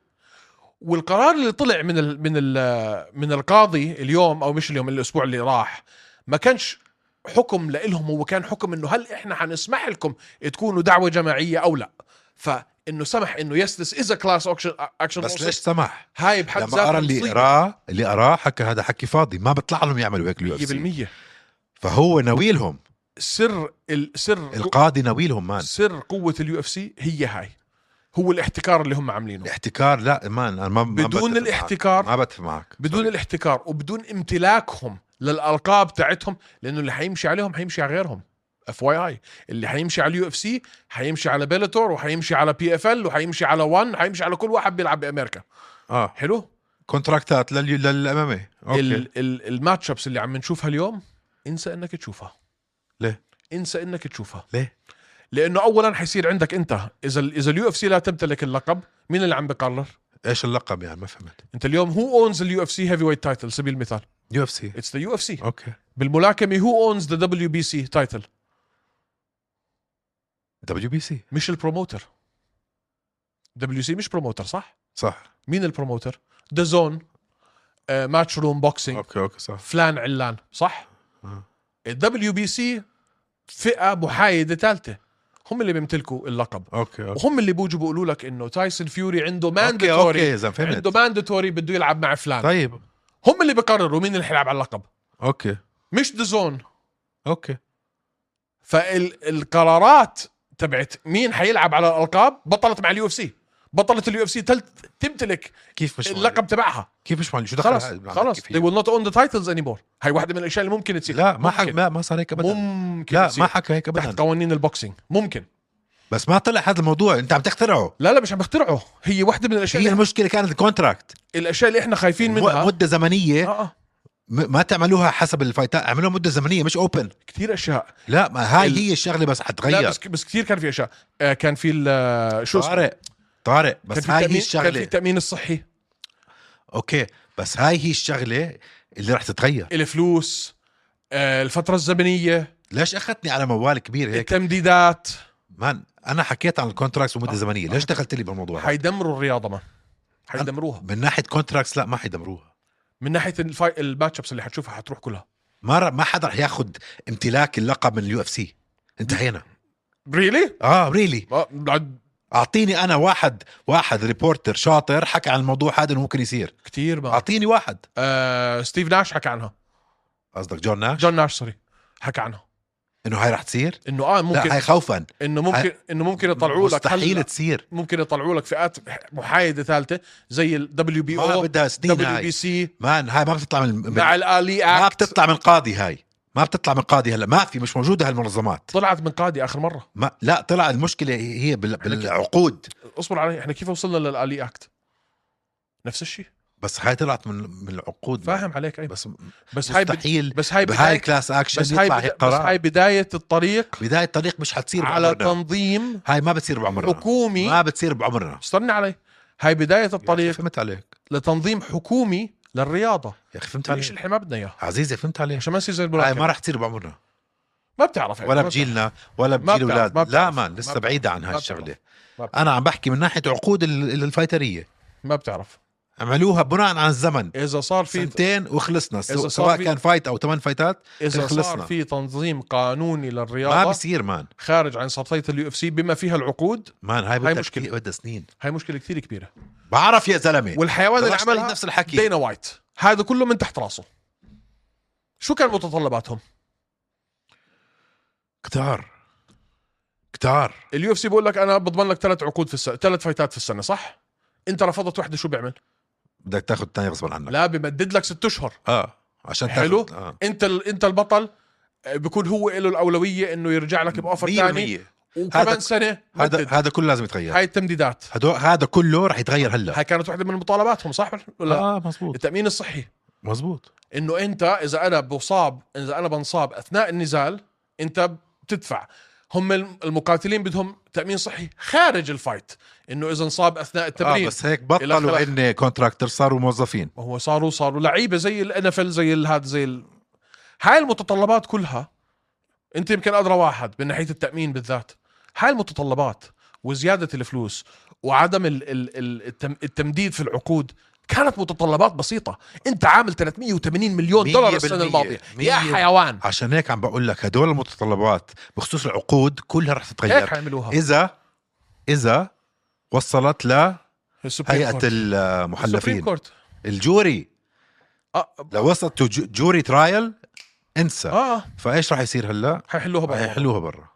B: والقرار اللي طلع من ال من ال من القاضي اليوم او مش اليوم الاسبوع اللي راح ما كانش حكم لإلهم هو كان حكم انه هل احنا حنسمح لكم تكونوا دعوه جماعيه او لا فانه سمح انه يس ذس از كلاس اكشن اكشن
A: بس ليش سمح
B: هاي بحد
A: لما
B: ذاتها
A: ارى اللي
B: مصيبة.
A: قراه اللي قراه حكى هذا حكي فاضي ما بيطلع لهم يعملوا هيك اليو اف سي
B: 100%
A: فهو ناوي لهم
B: سر السر
A: القاضي ناوي لهم مان
B: سر قوه اليو اف سي هي هاي هو الاحتكار اللي هم عاملينه
A: الاحتكار لا مان انا يعني ما ما
B: بدون
A: بتفق معك.
B: الاحتكار
A: ما بتفق معك
B: بدون الاحتكار وبدون امتلاكهم للالقاب تاعتهم لانه اللي حيمشي عليهم حيمشي على غيرهم اف واي اي اللي حيمشي على اليو اف سي حيمشي على بيلاتور وحيمشي على بي اف ال وحيمشي على ون حيمشي على كل واحد بيلعب بامريكا
A: اه
B: حلو
A: كونتراكتات لل... للامامي اوكي ال...
B: ال- ال- الماتش ابس اللي عم نشوفها اليوم انسى انك تشوفها
A: ليه؟
B: انسى انك تشوفها
A: ليه؟
B: لانه اولا حيصير عندك انت اذا ال- اذا اليو اف سي لا تمتلك اللقب مين اللي عم بقرر
A: ايش اللقب يعني ما فهمت
B: انت اليوم هو اونز اليو اف سي هيفي ويت تايتل سبيل المثال
A: يو اف سي
B: اتس ذا يو اف سي
A: اوكي
B: بالملاكمه هو اونز ذا دبليو بي سي تايتل
A: دبليو بي سي
B: مش البروموتر دبليو سي مش بروموتر صح
A: صح
B: مين البروموتر آه، ذا زون ماتش روم بوكسينج
A: اوكي اوكي صح
B: فلان علان صح
A: آه.
B: الدبليو بي سي فئه محايده ثالثه هم اللي بيمتلكوا اللقب
A: اوكي اوكي
B: وهم اللي بوجوا بيقولوا لك انه تايسون فيوري عنده
A: اوكي اوكي
B: مانداتوري
A: يا زلمه
B: عنده
A: فهمت
B: مانداتوري بده يلعب مع فلان
A: طيب
B: هم اللي بيقرروا مين اللي حيلعب على اللقب
A: اوكي
B: مش ذا زون
A: اوكي
B: فالقرارات تبعت مين حيلعب على الالقاب بطلت مع اليو اف سي بطلت اليو اف سي تمتلك
A: كيف مش
B: اللقب تبعها
A: كيف مش معلوم شو دخل
B: إيه، خلاص
A: هاي بالعمل
B: خلاص
A: كيف
B: they
A: هي؟
B: will not own the titles anymore هاي واحده من الاشياء اللي ممكن تصير
A: لا ما حكى
B: ممكن,
A: ما ما صار هيك ابدا
B: ممكن
A: لا
B: تصير
A: ما حكى هيك ابدا
B: تحت قوانين البوكسينج ممكن
A: بس ما طلع هذا الموضوع انت عم تخترعه
B: لا لا مش عم بخترعه هي واحده من الاشياء
A: هي
B: اللي
A: المشكله كانت الكونتراكت
B: الاشياء اللي احنا خايفين إيه. منها
A: م- مده زمنيه
B: آه آه.
A: م- ما تعملوها حسب الفايتات اعملوها مده زمنيه مش اوبن
B: كثير اشياء
A: لا ما هاي
B: ال-
A: هي الشغله بس
B: لا
A: حتغير
B: بس بس كثير كان في اشياء آه كان في ال- آه، شو اسمه
A: طارق طارق
B: كان
A: بس
B: في
A: هاي هي
B: التامين كان في
A: الشغله
B: التامين الصحي
A: اوكي بس هاي هي الشغله اللي رح تتغير
B: الفلوس آه الفتره الزمنيه
A: ليش اخذتني على موال كبير هيك
B: التمديدات
A: مان انا حكيت عن الكونتراكتس ومده
B: آه.
A: زمنيه ليش دخلت لي بالموضوع هذا؟
B: حيدمروا الرياضه ما حيدمروها
A: من ناحيه كونتراكتس لا ما حيدمروها
B: من ناحيه الفاي... الماتش ابس اللي حتشوفها حتروح كلها
A: ما ر- ما حدا رح ياخذ امتلاك اللقب من اليو اف سي انتهينا
B: ريلي؟
A: اه ريلي اعطيني انا واحد واحد ريبورتر شاطر حكى عن الموضوع هذا انه ممكن يصير
B: كثير ما
A: اعطيني واحد
B: آه... ستيف ناش حكى عنها
A: قصدك جون ناش
B: جون ناش سوري حكى عنها
A: انه هاي رح تصير
B: انه اه ممكن
A: لا هاي خوفا
B: انه ممكن انه ممكن يطلعوا لك
A: مستحيل
B: هلا
A: تصير
B: ممكن يطلعوا لك فئات محايده ثالثه زي الدبليو بي
A: ما
B: او
A: بدها سنين
B: دبليو
A: هاي
B: بي سي
A: مان هاي ما بتطلع من من-
B: مع الالي
A: ما
B: اكت
A: بتطلع من قاضي هاي ما بتطلع من قاضي هلا ما في مش موجوده هالمنظمات
B: طلعت من قاضي اخر مره
A: ما لا طلع المشكله هي بال- بالعقود
B: اصبر علي احنا كيف وصلنا للالي اكت نفس الشيء
A: بس هاي طلعت من من العقود
B: فاهم عليك اي
A: بس
B: بس هاي بد-
A: مستحيل
B: بس هاي
A: بهاي
B: بدايه
A: الكلاس اكشن
B: بس
A: يطلع
B: هاي
A: هيك
B: بدا- بس
A: قرار
B: هاي بدايه الطريق
A: بداية الطريق مش حتصير
B: على
A: بعمرنا
B: تنظيم
A: هاي ما بتصير بعمرنا
B: حكومي
A: ما بتصير بعمرنا
B: استنى علي هاي بدايه
A: يا أخي
B: الطريق
A: فهمت عليك
B: لتنظيم حكومي للرياضه
A: يا اخي فهمت
B: ليش
A: عليك
B: اللي ما بدنا اياه
A: عزيزي فهمت عليك
B: عشان ما يصير زي
A: طيب. هاي
B: الملاكمه
A: ما رح تصير بعمرنا
B: ما بتعرف يعني.
A: ولا
B: ما
A: بجيلنا ولا
B: ما
A: بجيل
B: بتعرف، ما
A: اولاد لا
B: بتعرف،
A: مان
B: ما
A: لسه
B: بتعرف،
A: بعيده عن
B: ما
A: هاي
B: بتعرف،
A: الشغله
B: ما بتعرف.
A: انا عم بحكي من ناحيه عقود ال- ال- الفايتريه
B: ما بتعرف
A: عملوها بناء على الزمن
B: اذا صار في
A: سنتين وخلصنا
B: إذا
A: سو-
B: صار
A: سواء
B: في-
A: كان فايت او ثمان فايتات
B: اذا صار
A: خلصنا.
B: في تنظيم قانوني
A: ما
B: للرياضه
A: بصير مان
B: خارج عن سلطيه اليو اف سي بما فيها العقود
A: مان هاي
B: هاي
A: بدها
B: مشكلة.
A: كتير- بدها سنين
B: هاي مشكله كثير كبيره
A: طيب. بعرف يا زلمه
B: والحيوان اللي
A: بدك تلاقي
B: عملها
A: نفس الحكي
B: دينا وايت هذا كله من تحت راسه شو كان متطلباتهم
A: كتار كتار
B: اليو اف سي بيقول لك انا بضمن لك ثلاث عقود في السنه ثلاث فايتات في السنه صح انت رفضت وحده شو بيعمل
A: بدك تاخذ الثانيه غصبا عنك
B: لا بمدد لك ست اشهر
A: اه عشان تاخد-
B: حلو.
A: آه.
B: انت ال... انت البطل آه، بكون هو له الاولويه انه يرجع لك باوفر ثاني
A: 100%
B: وكمان
A: هذا-
B: سنه
A: هذا
B: مدد.
A: هذا كله لازم يتغير
B: هاي التمديدات
A: هدو هذا كله رح يتغير هلا
B: هاي كانت واحده من مطالباتهم صح ولا لا
A: اه مزبوط
B: التامين الصحي
A: مزبوط
B: انه انت اذا انا بصاب اذا انا بنصاب اثناء النزال انت بتدفع هم الم- المقاتلين بدهم تامين صحي خارج الفايت انه اذا انصاب اثناء
A: آه
B: التمرين آه
A: بس هيك
B: إلى
A: بطلوا
B: آخره.
A: ان كونتراكتر صاروا موظفين
B: هو صاروا صاروا لعيبه زي الان زي الهاد زي ال... هاي المتطلبات كلها انت يمكن ادرى واحد من ناحيه التامين بالذات هاي المتطلبات وزياده الفلوس وعدم ال... ال... ال- التم... التمديد في العقود كانت متطلبات بسيطة انت عامل 380 مليون دولار السنة
A: 100%.
B: الماضية يا
A: 100%.
B: حيوان
A: عشان هيك عم بقول لك هدول المتطلبات بخصوص العقود كلها رح
B: هيك
A: تتغير
B: حيعملوها
A: اذا اذا وصلت لهيئه
B: السوبريم كورت. السوبريم
A: المحلفين
B: كورت
A: الجوري
B: اه
A: لو وصلت تو ج- جوري ترايل انسى
B: اه
A: فايش رح يصير هلا
B: حيحلوها
A: رح
B: بقى
A: يحلوها برا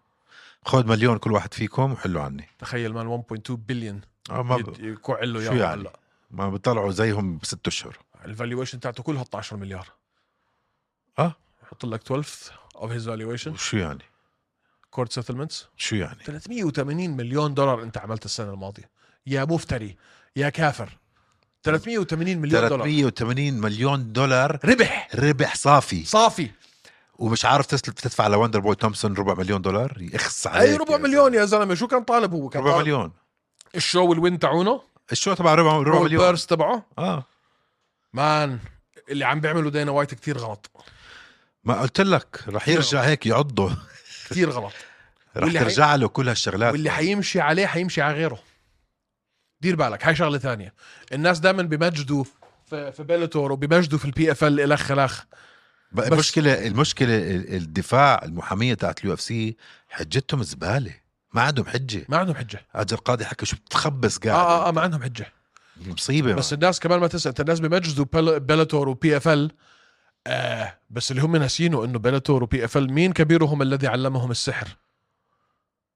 A: خذ مليون كل واحد فيكم وحلوا عني
B: تخيل مان 1.2 بليون
A: آه ما ب...
B: يكعلوا
A: شو
B: اياه
A: يعني؟
B: هلا
A: ما بيطلعوا زيهم بست اشهر
B: الفالويشن تاعته كلها 12 مليار
A: آه.
B: حط لك 12 اوف هيز فالويشن
A: شو يعني
B: كورت سيتلمنتس
A: شو يعني
B: 380 مليون دولار انت عملت السنه الماضيه يا مفتري يا كافر 380 مليون دولار
A: 380 مليون دولار
B: ربح
A: ربح صافي
B: صافي
A: ومش عارف تسلف تدفع لوندر بوي تومسون ربع مليون دولار يخس عليك
B: اي ربع
A: يا
B: مليون آه.
A: زلمة.
B: يا زلمه شو كان طالب هو كان
A: ربع
B: طالب
A: مليون
B: الشو والوين تاعونه
A: الشو تبع ربع ربع مليون
B: البيرس تبعه
A: اه
B: مان اللي عم بيعمله دينا وايت كثير غلط
A: ما قلت لك رح يرجع هيك يعضه
B: كثير غلط
A: رح
B: واللي حي-
A: ترجع له كل هالشغلات
B: واللي حيمشي عليه حيمشي على غيره دير بالك هاي شغله ثانيه الناس دائما بمجدوا في, في بيلاتور وبمجدوا في البي اف ال الخ الخ
A: بقى
B: بس-
A: المشكله المشكله ال- الدفاع المحاميه تاعت اليو اف سي حجتهم زباله ما عندهم حجه
B: ما عندهم حجه
A: اجل القاضي حكى شو بتخبص
B: اه
A: قاعد
B: اه, آه ما عندهم حجه
A: مصيبه
B: بس
A: بس
B: الناس كمان ما تنسى انت الناس بمجدوا بيل- بيلاتور وبي اف ال آه بس اللي هم ناسينه انه بيلاتور وبي اف ال مين كبيرهم الذي علمهم السحر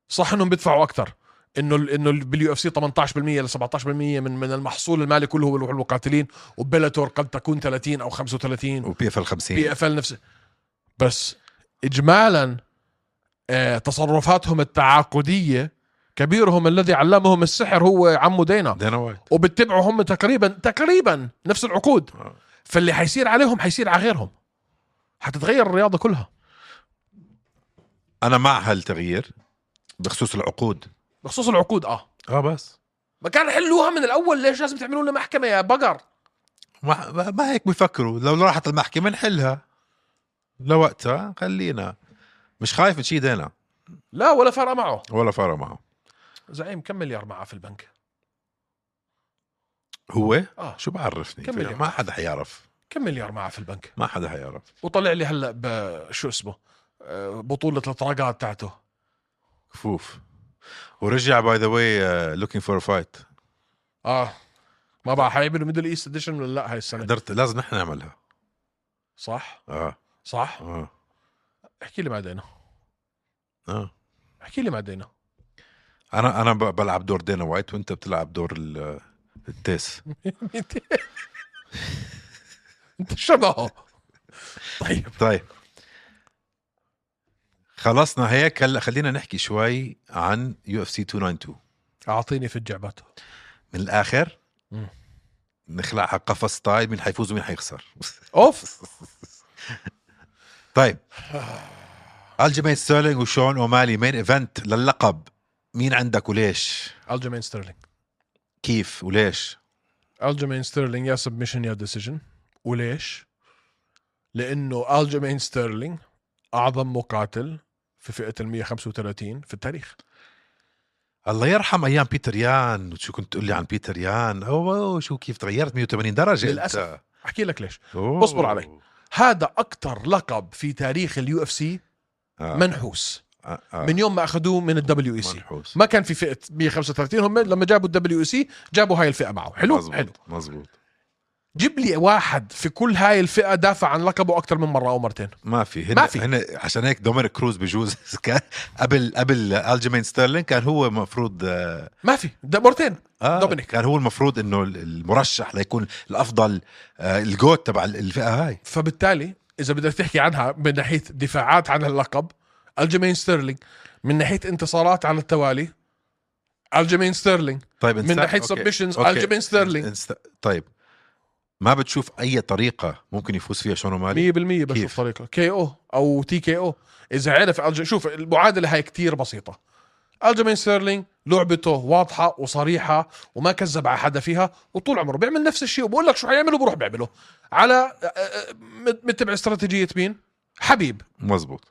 B: صح انهم بيدفعوا اكثر انه ال- انه ال- باليو اف سي 18% ل 17% من من المحصول المالي كله هو المقاتلين وبيلاتور قد تكون 30 او 35
A: وبي اف ال 50
B: بي اف ال نفسه بس اجمالا آه، تصرفاتهم التعاقديه كبيرهم الذي علمهم السحر هو عمو دينا
A: دينا وايت
B: وبتبعوا هم تقريبا تقريبا نفس العقود
A: آه.
B: فاللي حيصير عليهم حيصير على غيرهم حتتغير الرياضه كلها
A: انا مع هالتغيير بخصوص العقود
B: بخصوص العقود اه
A: اه بس
B: ما كان حلوها من الاول ليش لازم تعملوا لنا محكمه يا بقر
A: ما, ما- ما هيك بفكروا لو راحت المحكمه نحلها لوقتها خلينا مش خايف من شيء دينا
B: لا ولا فرق معه
A: ولا فارق معه
B: زعيم كم مليار معه في البنك
A: هو
B: اه
A: شو بعرفني
B: كمل يا
A: ما حدا حيعرف
B: كم مليار معه في البنك
A: ما حدا حيعرف
B: وطلع لي هلا بشو اسمه آه، بطوله الاطراقات تاعته
A: كفوف ورجع باي ذا واي لوكينج فور فايت
B: اه ما بقى حيعملوا ميدل ايست اديشن ولا لا هاي السنه
A: قدرت لازم نحن نعملها
B: صح
A: اه
B: صح
A: اه
B: احكي لي مع دينا
A: اه
B: احكي لي مع دينا
A: انا انا ب- بلعب دور دينا وايت وانت بتلعب دور ال- التيس
B: انت شبهه طيب
A: طيب خلصنا هيك هلا خلينا نحكي شوي عن يو اف سي 292
B: اعطيني في الجعبات
A: من الاخر
B: مم.
A: نخلعها قفص تايل مين حيفوز ومين حيخسر
B: اوف
A: طيب الجيمين ستيرلينج وشون اومالي مين ايفنت للقب مين عندك وليش
B: الجيمين ستيرلينج
A: كيف وليش
B: الجيمين ستيرلينج يا سبمشن يا ديسيجن وليش؟ لانه الجيمين ستيرلينج اعظم مقاتل في فئه ال 135 في التاريخ
A: الله يرحم ايام بيتر يان شو كنت تقول لي عن بيتر يان اوه شو كيف تغيرت 180 درجه
B: للأسف. احكي لك ليش
A: انت أوه.
B: اصبر علي. هذا اكثر لقب في تاريخ اليو اف سي
A: آه.
B: منحوس
A: آه. آه.
B: من يوم ما اخذوه من E الدبليو اي سي
A: منحوس
B: ما كان في فئه 135 هم لما جابوا الدبليو اي سي جابوا هاي الفئه معه حلو
A: مزبوط.
B: حلو
A: مزبوط
B: جيب لي واحد في كل هاي الفئه دافع عن لقبه اكثر من مره او مرتين
A: ما في هن
B: ما في.
A: هن عشان هيك دومينيك كروز بجوز كان قبل قبل الجيمين ستيرلينج كان هو المفروض آه
B: ما في ده مرتين
A: آه،
B: دومينيك.
A: كان هو المفروض انه المرشح ليكون الافضل آه الجوت تبع الفئه هاي
B: فبالتالي اذا بدك تحكي عنها من ناحيه دفاعات عن اللقب الجيمين ستيرلينج من ناحيه انتصارات على التوالي الجيمين ستيرلينج
A: طيب
B: من
A: إنسان-
B: ناحية
A: أوكي.
B: submissions،
A: أوكي.
B: الجيمين ستيرلينج.
A: إنس- طيب ما بتشوف اي طريقه ممكن يفوز فيها شون
B: 100%
A: مالي كيف؟
B: بشوف طريقه كي او او تي كي او اذا عرف الج... شوف المعادله هاي كتير بسيطه الجيمين ستيرلينج لعبته واضحه وصريحه وما كذب على حدا فيها وطول عمره بيعمل نفس الشيء وبقول لك شو حيعمله بروح بيعمله على أ- أ- مت- متبع استراتيجيه مين حبيب
A: مزبوط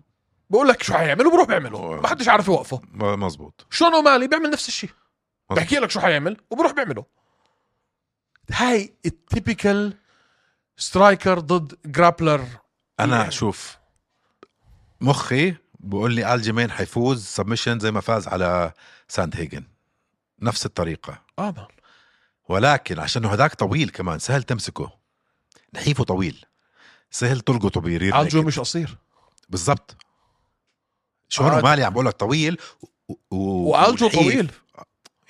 B: بقول لك شو حيعمله بروح بيعمله ما حدش عارف يوقفه
A: م- مزبوط
B: شون اومالي بيعمل نفس الشيء
A: مظبوط.
B: بحكي لك شو حيعمل وبروح بيعمله هاي التيبيكال سترايكر ضد جرابلر
A: انا شوف مخي بقول لي الجيمين حيفوز سبمشن زي ما فاز على ساند هيجن نفس الطريقه
B: اه ما-
A: ولكن عشان إنه هداك طويل كمان سهل تمسكه نحيفه طويل سهل تلقطه برير
B: الجو
A: نيكد.
B: مش قصير
A: بالضبط شون
B: آه.
A: مالي عم بقول لك طويل و... و...
B: والجو
A: ونحيف.
B: طويل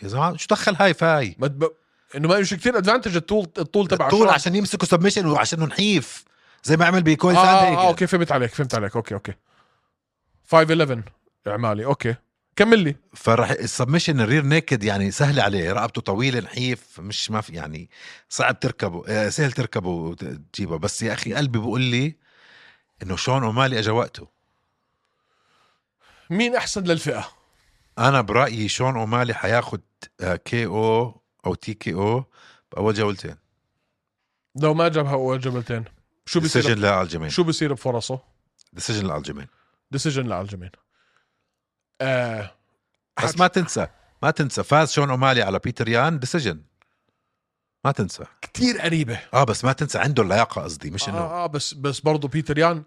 A: يا زلمه شو دخل هاي فاي
B: ما تب... انه ما مش كثير ادفانتج الطول الطول تبع
A: طول
B: شون.
A: عشان يمسكوا سبمشن وعشان إنه نحيف زي ما عمل بكول
B: آه,
A: ساند يعني.
B: آه, اه
A: هيجن
B: اوكي فهمت عليك فهمت عليك اوكي اوكي 511 اعمالي اوكي كمل لي
A: فراح السبمشن الرير نيكد يعني سهل عليه رقبته طويله نحيف مش ما في يعني صعب تركبه آه، سهل تركبه وتجيبه بس يا اخي قلبي بقول لي انه شون اومالي اجى وقته
B: مين احسن للفئه
A: انا برايي شون اومالي حياخد آه، كي او او تي كي او باول جولتين
B: لو ما جابها اول جبلتين شو
A: ديسيجن
B: بيصير
A: لالجيمين
B: شو بيصير بفرصه
A: ديسيجن لالجيمين
B: ديسيجن لالجمين آه
A: بس ما تنسى ما تنسى فاز شون اومالي على بيتر يان ديسيجن ما تنسى
B: كثير قريبه
A: اه بس ما تنسى عنده اللياقه قصدي مش انه
B: آه, اه بس بس برضه بيتر يان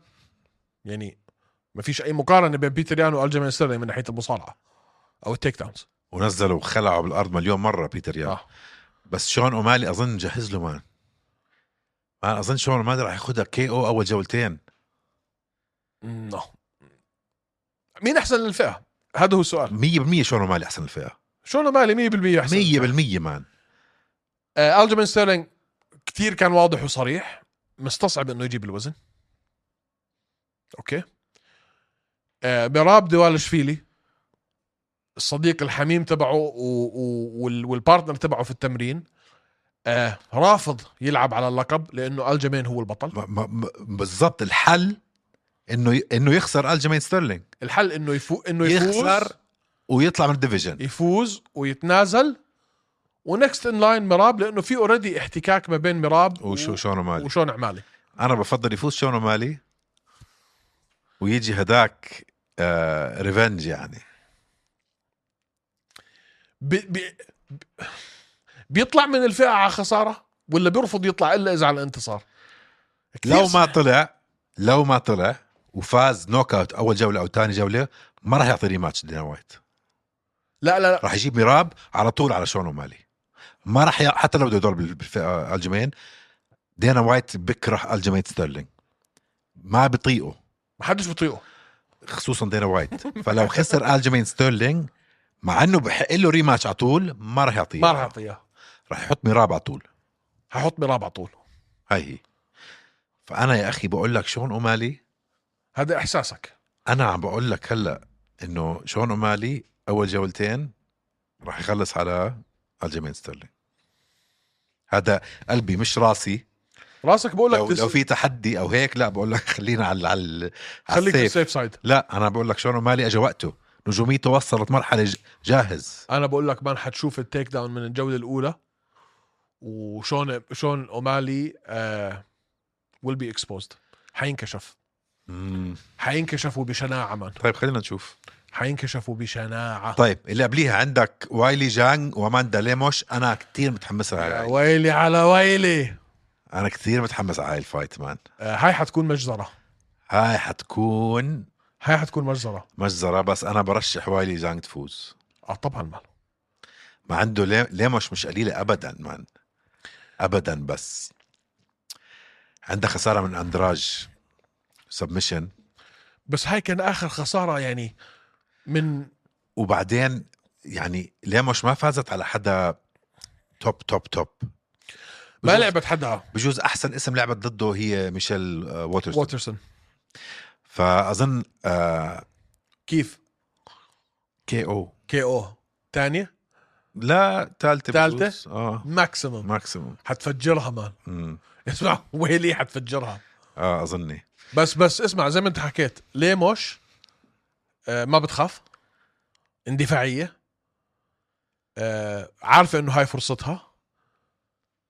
B: يعني ما فيش اي مقارنه بين بيتر يان والجيمين ستيرلينج من ناحيه المصارعه او التيك داونز
A: ونزلوا وخلعوا بالارض مليون مره بيتر يان
B: آه.
A: بس شون اومالي اظن جهز له مان مان اظن شون اومالي راح ياخذها كي او اول جولتين
B: نو نعم. مين احسن للفئه؟ هذا هو السؤال
A: 100% شون اومالي احسن الفئه
B: شون مالي 100% احسن
A: 100% مان
B: آه الجيمين ستيرلينج كثير كان واضح وصريح مستصعب انه يجيب الوزن اوكي آه براب دوالشفيلي الصديق الحميم تبعه و... و... وال... والبارتنر تبعه في التمرين آه رافض يلعب على اللقب لانه الجيمين هو البطل
A: ما- ما- ما- بالضبط الحل انه ي- انه يخسر الجيمين ستيرلينج
B: الحل انه يفو... انه يفوز
A: يخسر ويطلع من الديفيجن
B: يفوز ويتنازل ونكست ان لاين مراب لانه في اوريدي احتكاك ما بين مراب
A: وشو شون اومالي
B: وشون عمالي
A: انا بفضل يفوز شون اومالي ويجي هداك آه ريفنج يعني
B: بي بي بي- بيطلع من الفئه على خساره ولا بيرفض يطلع الا اذا على الانتصار كتير
A: لو ما
B: صعب.
A: طلع لو ما طلع وفاز نوك اوت اول جوله او ثاني جوله ما راح يعطي ريماتش دينا وايت
B: لا لا لا
A: راح يجيب ميراب على طول على شون اومالي ما راح ي... حتى لو بده يدور بال- بالفئه الجيمين آه، دينا وايت بكره الجيمين ستيرلينج ما بطيقه
B: ما حدش بيطيقه
A: خصوصا دينا وايت فلو خسر الجيمين ستيرلينج مع انه بحق له ريماتش على طول ما راح يعطيه
B: ما راح اعطيها
A: راح يحط ميراب على طول
B: هحط مراب على طول
A: هاي هي فانا يا اخي بقول لك شون اومالي
B: هذا احساسك
A: انا عم بقول لك هلا انه شون اومالي اول جولتين راح يخلص على الجيمين ستيرلينج هذا قلبي مش راسي
B: راسك بقول لك
A: لو
B: تس-
A: لو في تحدي او هيك لا بقول لك خلينا على على على
B: خليك
A: السيف
B: بالسيف سايد
A: لا انا بقول لك شون اومالي اجى وقته نجوميته وصلت مرحله ج- جاهز
B: انا بقول لك مان حتشوف التيك داون من الجوله الاولى وشون شون آه، اومالي ويل بي اكسبوزد حينكشف
A: مم.
B: حينكشف وبشناعه مان
A: طيب خلينا نشوف
B: حينكشف وبشناعه
A: طيب اللي قبليها عندك وايلي جانج واماندا ليموش انا كتير متحمس على
B: يا
A: هاي.
B: آه، ويلي على ويلي
A: انا كتير متحمس على هاي الفايت مان
B: آه، هاي حتكون مجزره
A: هاي حتكون
B: هاي حتكون مجزره
A: مجزرة بس انا برشح وايلي جانج تفوز
B: اه طبعا مان
A: ما عنده لي- ليموش مش قليلة ابدا مان ابدا بس عندها خسارة من اندراج سبمشن
B: بس هاي كان اخر خساره يعني من
A: وبعدين يعني ليموش ما فازت على حدا توب توب توب
B: ما لعبت حدا
A: بجوز احسن اسم لعبت ضده هي ميشيل آه، ووترز
B: واترسون
A: فاظن آه
B: كيف
A: كي او
B: كي او ثانيه
A: لا ثالثه
B: تالتة؟
A: بجوز. اه
B: ماكسيمم
A: ماكسيموم
B: حتفجرها مان
A: أمم.
B: اسمع ويلي حتفجرها
A: اه اظني
B: بس بس اسمع زي ما انت حكيت ليه مش آه ما بتخاف اندفاعيه آه عارفه انه هاي فرصتها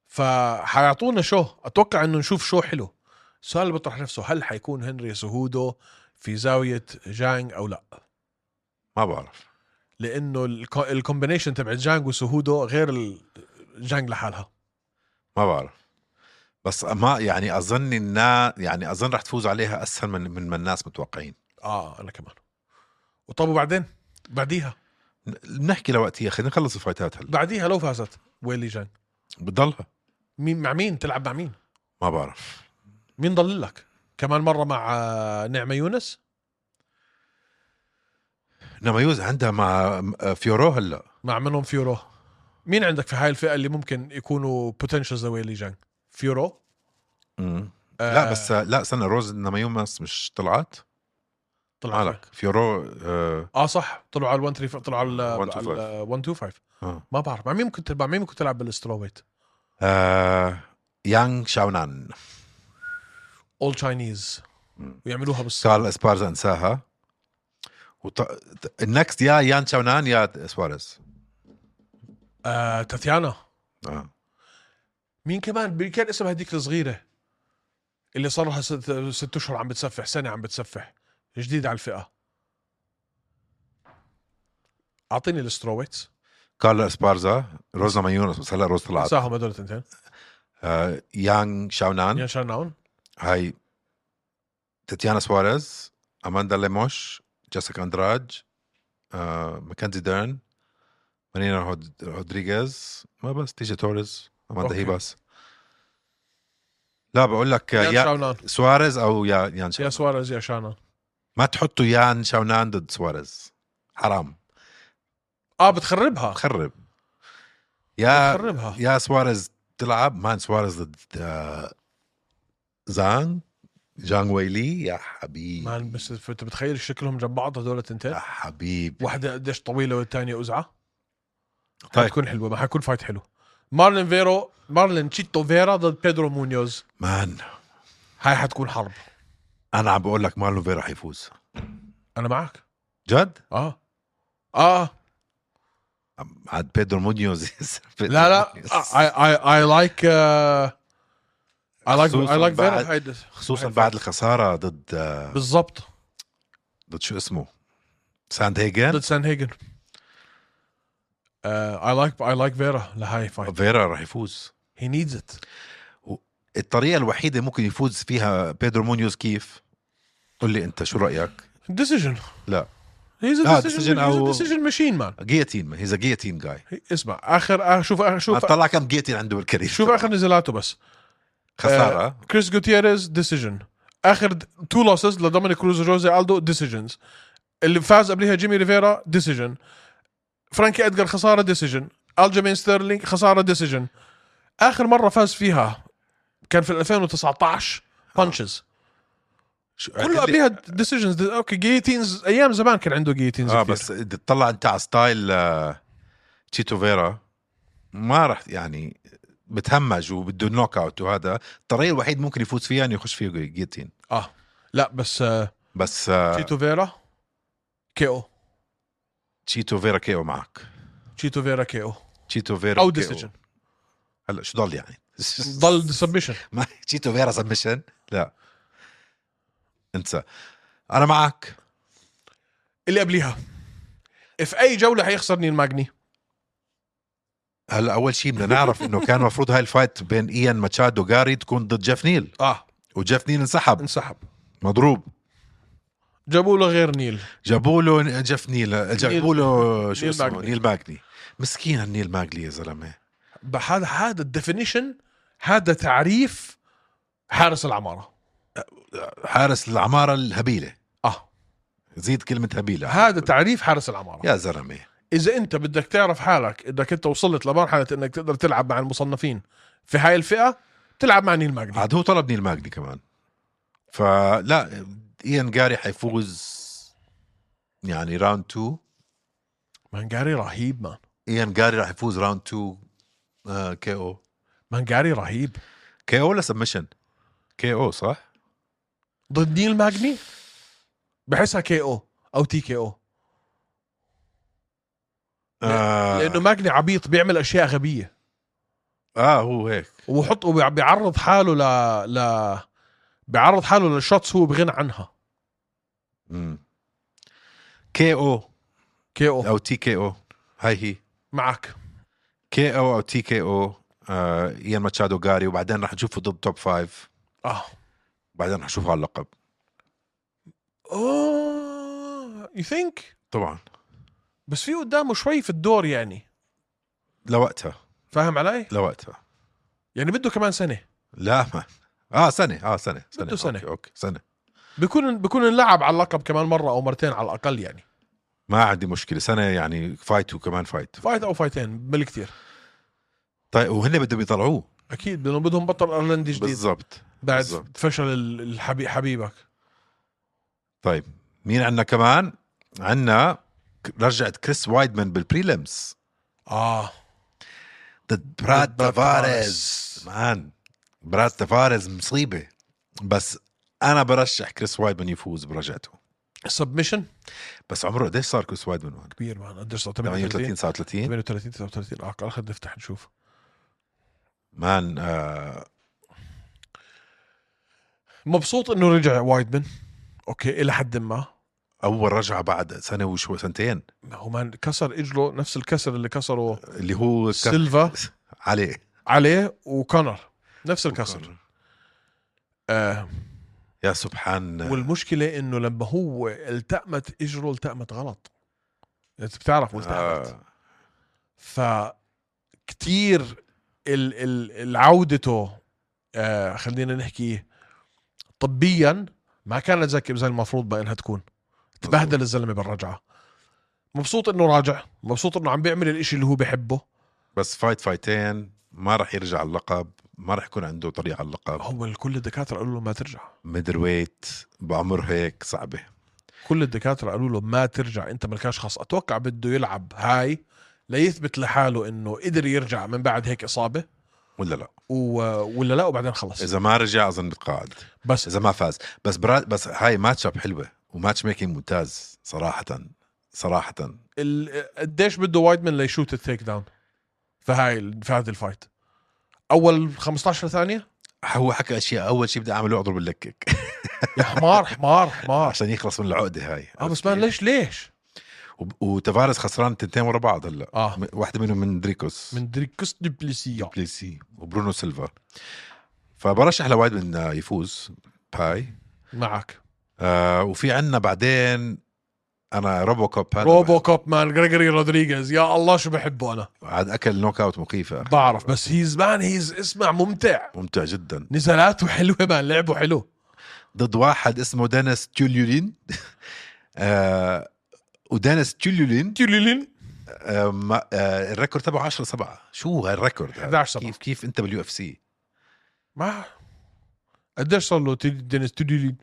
B: فحيعطونا شو اتوقع انه نشوف شو حلو السؤال اللي بيطرح نفسه هل حيكون هنري سهودو في زاويه جانج او لا
A: ما بعرف
B: لانه الكو- الكومبينيشن تبع جانج وسهودو غير ال- جانج لحالها
A: ما بعرف بس ما يعني اظن النا يعني اظن رح تفوز عليها اسهل من من ما الناس متوقعين
B: اه انا كمان وطب وبعدين بعديها
A: ن- نحكي لوقتها خلينا نخلص الفايتات هلا
B: بعديها لو فازت ويلي جانج
A: بضلها
B: مين مع مين تلعب مع مين
A: ما بعرف
B: مين ضل لك كمان مره مع آه، نعمه يونس
A: انما يوز عندها مع آه، فيورو هلا
B: مع منهم فيورو مين عندك في هاي الفئه اللي ممكن يكونوا بوتنشلز لويلي جانج فيورو
A: أمم.
B: آه
A: لا بس آه، لا استنى روز انما يومس مش طلعت
B: طلع
A: مالك
B: لك
A: فيورو آه
B: اه صح طلعوا على 1 3 طلعوا على
A: 125.
B: 125
A: آه.
B: ما بعرف مع مين ممكن تلعب مع مين ممكن تلعب بالسترو ويت
A: آه يانغ شاونان
B: اول تشاينيز
A: مم.
B: ويعملوها بالصين
A: سال اسبارزا انساها وط... ت- النكست يا يان شاونان يا سواريز
B: آه تاتيانا
A: آه.
B: مين كمان مين كان اسمها هذيك الصغيره اللي صار لها ست, ست اشهر عم بتسفح سنه عم بتسفح جديده على الفئه اعطيني السترويتس
A: كارلا اسبارزا روزنا مايونس بس هلا روز طلعت
B: انساهم هدول التنتين
A: آه يانغ شاونان
B: يان شانون
A: هاي تاتيانا سواريز اماندا ليموش جيسيكا اندراج آه ماكنزي ديرن مارينا هود... رودريغيز ما بس تيجي توريز اماندا
B: أوكي.
A: هي بس لا بقول لك آه،
B: يان
A: يا
B: شانون
A: سواريز او يا يان شاونان
B: يا سواريز يا شانون
A: ما تحطوا يان شاونان ضد سواريز حرام
B: اه بتخربها
A: خرب يا
B: بتخربها
A: يا سواريز تلعب مان سواريز ضد آه، زانغ جانغ ويلي يا
B: مان
A: حبيبي
B: بس انت بتخيل شكلهم جنب بعض هدول التنتين
A: يا حبيبي
B: واحده قديش طويله والثانيه ازعه
A: طيب.
B: حتكون حلوه ما حيكون فايت حلو مارلين فيرو مارلين تشيتو فيرا ضد بيدرو مونيوز
A: مان
B: هاي حتكون حرب
A: انا عم بقول لك مارلون فيرا حيفوز
B: انا معك
A: جد
B: اه اه
A: عاد بيدرو مونيوز
B: لا لا آه، اي اي اي لايك اي لايك
A: خصوصاً
B: اي لايك
A: بعد-
B: فيرا
A: خصوصا
B: آه،
A: بعد الخساره ضد آه،
B: بالضبط
A: ضد شو اسمه ساند هيجن
B: ضد سان هيجن اي لايك اي لايك فيرا لهاي فايت
A: فيرا راح يفوز
B: هي نيدز ات
A: الطريقه الوحيده ممكن يفوز فيها بيدرو مونيوز كيف قول لي انت شو رايك
B: ديسيجن
A: لا.
B: هيز
A: لا، decision
B: ديسيجن
A: أو-
B: ديسيجن ماشين مان
A: جيتين هيز جيتين جاي
B: اسمع اخر آخر- شوف آخر- شوف
A: طلع كم جيتين عنده بالكارير
B: شوف آه، اخر نزالاته بس
A: خساره
B: كريس جوتيريز ديسيجن اخر تو لوسز لدومينيك كروز وجوزي الدو ديسيجنز اللي فاز قبلها جيمي ريفيرا ديسيجن فرانكي ادجر خساره ديسيجن الجيمين ستيرلينج خساره ديسيجن اخر مره فاز فيها كان في 2019 بانشز
A: شو-
B: كله
A: قلت لي-
B: قبليها ديسيجنز اوكي جيتينز ايام زمان كان عنده جيتينز
A: اه بس بدي تطلع انت على ستايل آه، تشيتو فيرا ما رح يعني بتهمج وبده نوك اوت وهذا الطريقه الوحيد ممكن يفوز فيها انه يخش فيه جيتين
B: اه لا بس آه
A: بس آه،
B: تشيتو فيرا كي او
A: تشيتو فيرا كيو معك
B: تشيتو فيرا كي او
A: تشيتو فيرا
B: او
A: وكيو.
B: ديسيجن
A: هلا شو ضل يعني
B: ضل سبمشن
A: ما تشيتو فيرا سبمشن لا انسى انا معك
B: اللي قبليها في اي جوله حيخسر نيل ماجني
A: هلا اول شيء بدنا نعرف انه كان المفروض هاي الفايت بين ايان ماتشادو وجاري تكون ضد جيف نيل
B: اه
A: وجيف نيل انسحب
B: انسحب
A: مضروب
B: جابوا له غير نيل
A: جابوا له جيف نيل جابوا له شو
B: نيل
A: اسمه
B: ماجني.
A: نيل ماجني مسكين النيل ماجني يا زلمه
B: هذا هذا الديفينيشن هذا تعريف حارس العماره
A: حارس العماره الهبيله
B: اه
A: زيد كلمه هبيله
B: هذا تعريف حارس العماره
A: يا زلمه
B: اذا انت بدك تعرف حالك انك انت وصلت لمرحله انك تقدر تلعب مع المصنفين في هاي الفئه تلعب مع نيل ماجني
A: عاد هو طلب نيل ماجني كمان فلا ايان جاري حيفوز يعني راوند 2
B: مانجاري رهيب مان
A: ايان جاري راح يفوز آه، راوند 2 كي او
B: مانجاري رهيب
A: كي او ولا سبمشن؟ كي او صح؟
B: ضد نيل ماجني بحسها كي او او تي كي او
A: آه,
B: لانه ماجني عبيط بيعمل اشياء غبيه
A: اه هو هيك
B: وبحط وبيعرض حاله ل ل بيعرض حاله للشوتس هو بغنى عنها
A: كي او
B: كي او
A: او تي كي او هاي هي
B: معك
A: كي او او تي كي او آه، ايان ماتشادو جاري وبعدين رح نشوفه ضد توب فايف
B: اه
A: وبعدين رح نشوفه على اللقب
B: اوه يو ثينك
A: طبعا
B: Oh, بس في قدامه شوي في الدور يعني
A: لوقتها
B: فاهم علي؟
A: لوقتها
B: يعني بده كمان سنه
A: لا ما اه سنه اه سنه سنه
B: بده سنة.
A: اوكي, أوكي. سنه
B: بيكون بيكون انلعب على اللقب كمان مره او مرتين على الاقل يعني
A: ما عندي مشكله سنه يعني فايت وكمان فايت
B: فايت او فايتين بالكثير
A: طيب وهن بدهم يطلعوه
B: اكيد لانه بدهم بطل ايرلندي جديد
A: بالضبط
B: بعد
A: بالضبط.
B: فشل ال- الحبي حبيبك
A: طيب مين عندنا كمان عندنا رجعت كريس وايدمان بالبريلمز
B: اه
A: ضد براد
B: براد
A: تافاريز مان براد تافاريز مصيبه بس انا برشح كريس وايدمان يفوز برجعته
B: سبمشن
A: بس عمره قديش صار كريس وايدمان هون؟
B: كبير مان قديش صار
A: 38
B: 38
A: 39
B: 38 39 اه خلينا نفتح نشوف
A: مان آه
B: مبسوط انه رجع وايدمن اوكي الى حد ما
A: اول رجعه بعد سنه وشو سنتين
B: هو مان كسر اجره نفس الكسر اللي كسره
A: اللي هو كان
B: سيلفا
A: عليه
B: عليه وكونر نفس الكسر آه
A: يا سبحان آه،
B: والمشكله انه لما هو التأمت اجره التأمت غلط انت بتعرف والتأمت
A: آه
B: فكتير ال ال العودته آه خلينا نحكي طبيا ما كانت زي زي المفروض بقى انها تكون تبهدل الزلمه بالرجعه مبسوط انه راجع مبسوط انه عم بيعمل الاشي اللي هو بحبه
A: بس فايت فايتين ما راح يرجع على اللقب ما راح يكون عنده طريقه على اللقب
B: هو كل الدكاتره قالوا له ما ترجع
A: ميدل ويت بعمر هيك صعبه
B: كل الدكاتره قالوا له ما ترجع انت مالكاش خص اتوقع بده يلعب هاي ليثبت لحاله انه قدر يرجع من بعد هيك اصابه
A: ولا لا
B: و... ولا لا وبعدين خلص
A: اذا ما رجع اظن بتقاعد
B: بس
A: اذا ما فاز بس برا... بس هاي ماتش اب حلوه وماتش ميكينج ممتاز صراحه صراحه
B: ال- قديش بده وايدمن ليشوت التيك داون في هاي في هذه الفايت اول 15 ثانيه
A: هو حكى اشياء اول شيء بدي اعمله اضرب اللكك
B: يا حمار حمار حمار
A: عشان يخلص من العقده هاي
B: اه بس مان ليش ليش
A: وب- وتفارس خسران تنتين ورا بعض هلا
B: اه
A: م- واحده منهم من دريكوس
B: من دريكس دوبليسيا
A: بليسي وبرونو سيلفا فبرشح لوايد من آه، يفوز هاي
B: معك
A: آه وفي عنا بعدين انا روبو كوب هذا
B: روبو كوب مان جريجوري رودريغيز يا الله شو بحبه انا
A: عاد اكل نوك اوت مخيف يا أخي.
B: بعرف بس هيز مان هيز اسمع ممتع
A: ممتع جدا
B: نزالاته حلوه مان لعبه حلو
A: ضد واحد اسمه دانس تيوليولين آه ودانس تيوليولين
B: تيوليلين
A: آه ما- آه الريكورد تبعه 10 7 شو هالريكورد هذا؟
B: 11 سبعة.
A: كيف كيف انت باليو اف سي
B: ما قديش صار له تي- دينيس تيوليلين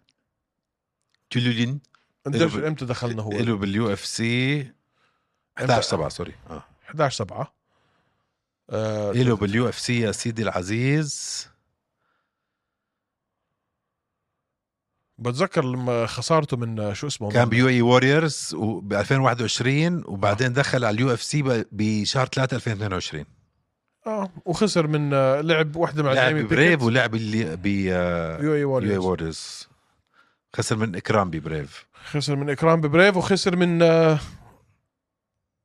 A: تولولين
B: ندرش امتى دخلنا هو
A: له باليو اف سي 11 7 سوري اه
B: 11 7 آه
A: له باليو اف سي يا سيدي العزيز
B: بتذكر لما خسارته من آه، شو اسمه
A: كان
B: من-
A: بيو اي ووريرز وب 2021 وبعدين دخل على اليو اف سي بشهر 3 2022
B: اه وخسر من آه، لعب واحده مع
A: لعب
B: جيمي
A: بريف
B: بيكيت. آه،
A: ولعب اللي ب
B: يو اي
A: يو اي
B: ووريرز
A: ووريرز خسر من اكرام ببريف
B: خسر من اكرام ببريف وخسر من آه،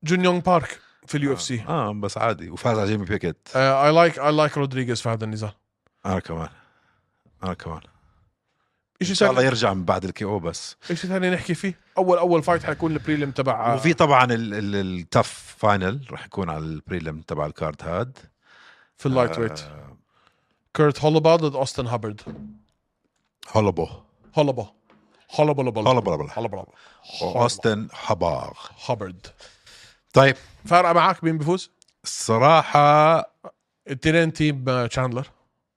B: جون يونغ بارك في اليو اف سي آه،
A: اه بس عادي وفاز على جيمي بيكيت
B: اي لايك اي لايك رودريغيز في هذا النزال
A: انا آه، كمان انا كمان
B: شيء
A: ان شاء الله
B: ثاني
A: يرجع من بعد الكي او بس
B: شيء ثاني نحكي فيه اول اول فايت حيكون البريلم تبع آه،
A: وفي طبعا التف فاينل راح يكون على البريلم تبع الكارد هاد
B: في اللايت ويت
A: آه،
B: كيرت هولبا ضد اوستن هابرد
A: هولبو
B: هولبا هولبا هولبا
A: هولبو
B: هولبا
A: هولبو.
B: هولبا
A: واوستن حباغ
B: هابرد
A: طيب
B: فارقه معك مين بيفوز؟
A: الصراحه
B: التنين تيم آه، تشاندلر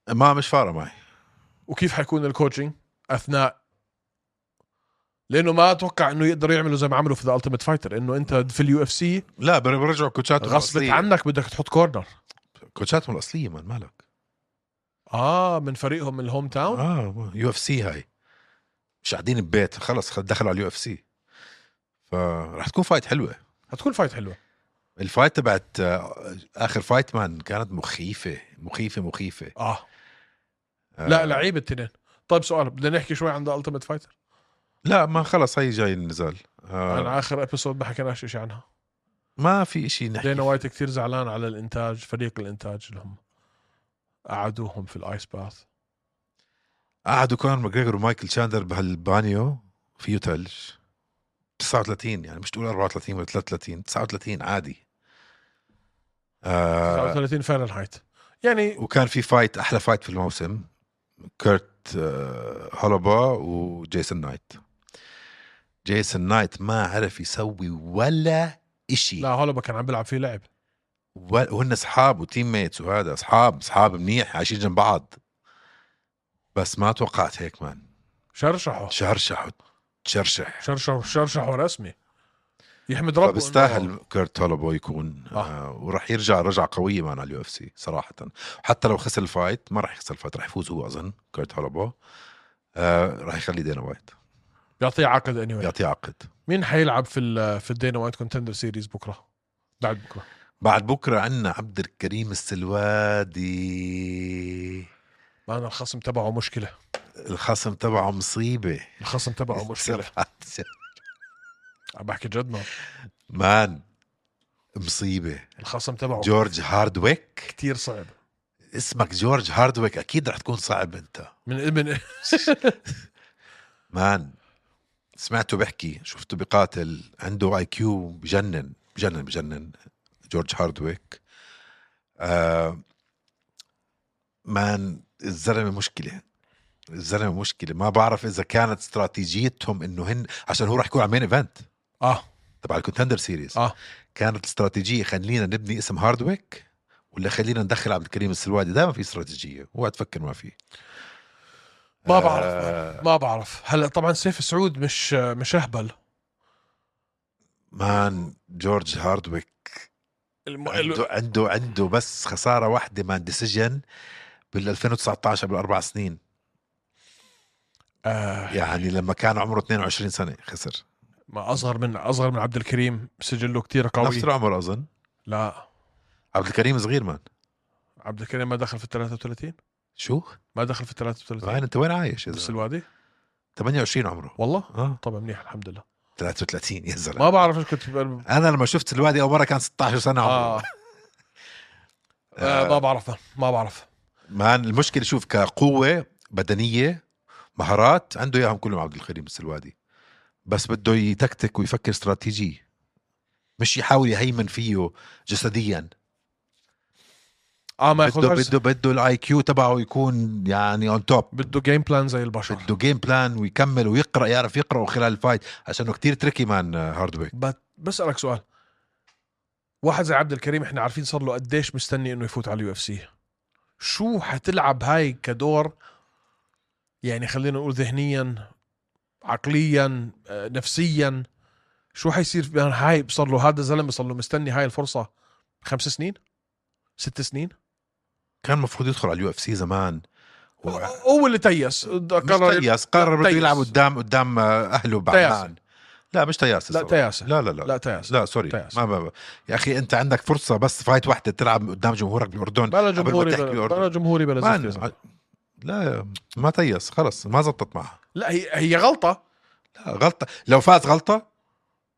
A: ما مش فارقه معي
B: وكيف حيكون الكوتشنج اثناء لانه ما اتوقع انه يقدروا يعملوا زي ما عملوا في ذا التيمت فايتر انه انت في اليو اف سي
A: لا بر- برجعوا كوتشاتهم
B: غصبت
A: الأصلية.
B: عنك بدك تحط كورنر
A: كوتشاتهم الاصليه من مالك
B: اه من فريقهم من الهوم تاون
A: اه يو اف سي هاي مش قاعدين ببيت خلص خ- دخلوا على اليو اف سي فرح تكون فايت حلوه
B: هتكون فايت حلوه
A: الفايت تبعت آه، اخر فايت مان كانت مخيفه مخيفه مخيفه
B: اه
A: آه،
B: لا لعيبه التنين طيب سؤال بدنا نحكي شوي عن ذا التيمت فايتر
A: لا ما خلص هي جاي النزال آه
B: عن اخر ابيسود ما حكيناش شيء عنها
A: ما في شيء نحكي
B: دينا وايت كثير زعلان على الانتاج فريق الانتاج اللي هم قعدوهم في الايس باث
A: قعدوا كونر ماجريجر ومايكل تشاندر بهالبانيو فيه ثلج 39 يعني مش تقول 34 ولا 33 39 عادي آه
B: 39 فهرنهايت يعني
A: وكان في فايت احلى فايت في الموسم كيرت آه هولبا وجيسون نايت جيسون نايت ما عرف يسوي ولا
B: لا
A: إشي
B: هولبا كان عم بيلعب فيه لعب
A: ولا- وهن اصحاب وتيم ميتس وهذا اصحاب اصحاب منيح عايشين جنب بعض بس ما توقعت هيك مان
B: شرشحه
A: شرشح شرشح
B: شرشحه شرشحه رسمي يحمد ربه
A: فبيستاهل كيرت هولبو يكون
B: آه.
A: آه. آه وراح يرجع رجعه قويه معنا اليو اف سي صراحه حتى لو خسر الفايت ما راح يخسر الفايت راح يفوز هو اظن كيرت هولبو آه راح يخلي دينا وايت
B: إنه بيعطيه عقد اني anyway.
A: يعطيه عقد
B: مين حيلعب في ال في الدينا وايت كونتندر سيريز بكره بعد بكره
A: بعد بكره عندنا عبد الكريم السلوادي
B: ما انا الخصم تبعه مشكله
A: الخصم تبعه مصيبه
B: الخصم تبعه مشكله عم بحكي جد ما
A: مان مصيبه
B: الخصم تبعه
A: جورج هاردويك
B: كثير صعب
A: اسمك جورج هاردويك اكيد رح تكون صعب انت
B: من إيه؟ من
A: مان سمعته بحكي شفته بقاتل عنده اي كيو بجنن بجنن بجنن جورج هاردويك آه مان الزلمه مشكله الزلمه مشكله ما بعرف اذا كانت استراتيجيتهم انه هن عشان هو راح يكون على مين ايفنت
B: اه
A: تبع الكونتندر سيريز
B: آه.
A: كانت الاستراتيجيه خلينا نبني اسم هاردويك ولا خلينا ندخل عبد الكريم السلوادي دائما في استراتيجيه وقت تفكر ما في
B: ما بعرف
A: آه
B: ما بعرف هلا طبعا سيف سعود مش مش اهبل
A: مان جورج هاردويك
B: الم... ال...
A: عنده عنده عنده بس خساره واحده مان ديسيجن بال 2019 بالاربع سنين
B: آه
A: يعني لما كان عمره 22 سنه خسر
B: ما اصغر من اصغر من عبد الكريم سجله كثير قوي
A: نفس العمر اظن
B: لا
A: عبد الكريم صغير مان
B: عبد الكريم ما دخل في ال 33
A: شو؟
B: ما دخل في ال 33
A: وين انت وين عايش؟
B: بس
A: إذا؟
B: الوادي
A: 28 عمره
B: والله
A: اه
B: طبعا منيح الحمد لله
A: 33 يا زلمه
B: ما بعرف ايش كنت ب-
A: انا لما شفت الوادي اول مره كان 16 سنه عمره
B: آه.
A: آه.
B: آه ما بعرف ما بعرف
A: مان المشكله شوف كقوه بدنيه مهارات عنده اياهم كلهم عبد الكريم السلوادي بس بده يتكتك ويفكر استراتيجي مش يحاول يهيمن فيه جسديا
B: اه ما
A: بده
B: ياخذهاش
A: بده بده الاي كيو تبعه يكون يعني اون توب
B: بده جيم بلان زي البشر
A: بده جيم بلان ويكمل ويقرا يعرف يقرا خلال الفايت عشانه كتير آه، تركي مان هاردويك
B: بت... بسالك سؤال واحد زي عبد الكريم احنا عارفين صار له قديش مستني انه يفوت على اليو اف سي شو حتلعب هاي كدور يعني خلينا نقول ذهنيا عقليا آه، نفسيا شو حيصير في- هاي بصر له هذا الزلمه صار له مستني هاي الفرصه خمس سنين ست سنين
A: كان المفروض يدخل على اليو اف سي زمان و...
B: هو اللي تيأس
A: مش
B: آه، قرر
A: تياس قرر بده
B: تياس.
A: يلعب قدام قدام آه، اهله بعمان لا مش تياس
B: لا
A: الصراحة.
B: تيأس
A: لا لا لا
B: لا تيأس
A: لا سوري
B: تيأس.
A: ما ما يا اخي انت عندك فرصه بس فايت واحده تلعب قدام جمهورك بالاردن
B: بلا
A: قبل ما
B: جمهوري
A: تحكي
B: بلا,
A: بالأردن.
B: بلا جمهوري بلا
A: ما
B: زفت يا
A: عن-
B: زلمة.
A: لا ما تيس خلص ما زبطت معها
B: لا هي هي غلطه
A: لا غلطه لو فاز غلطه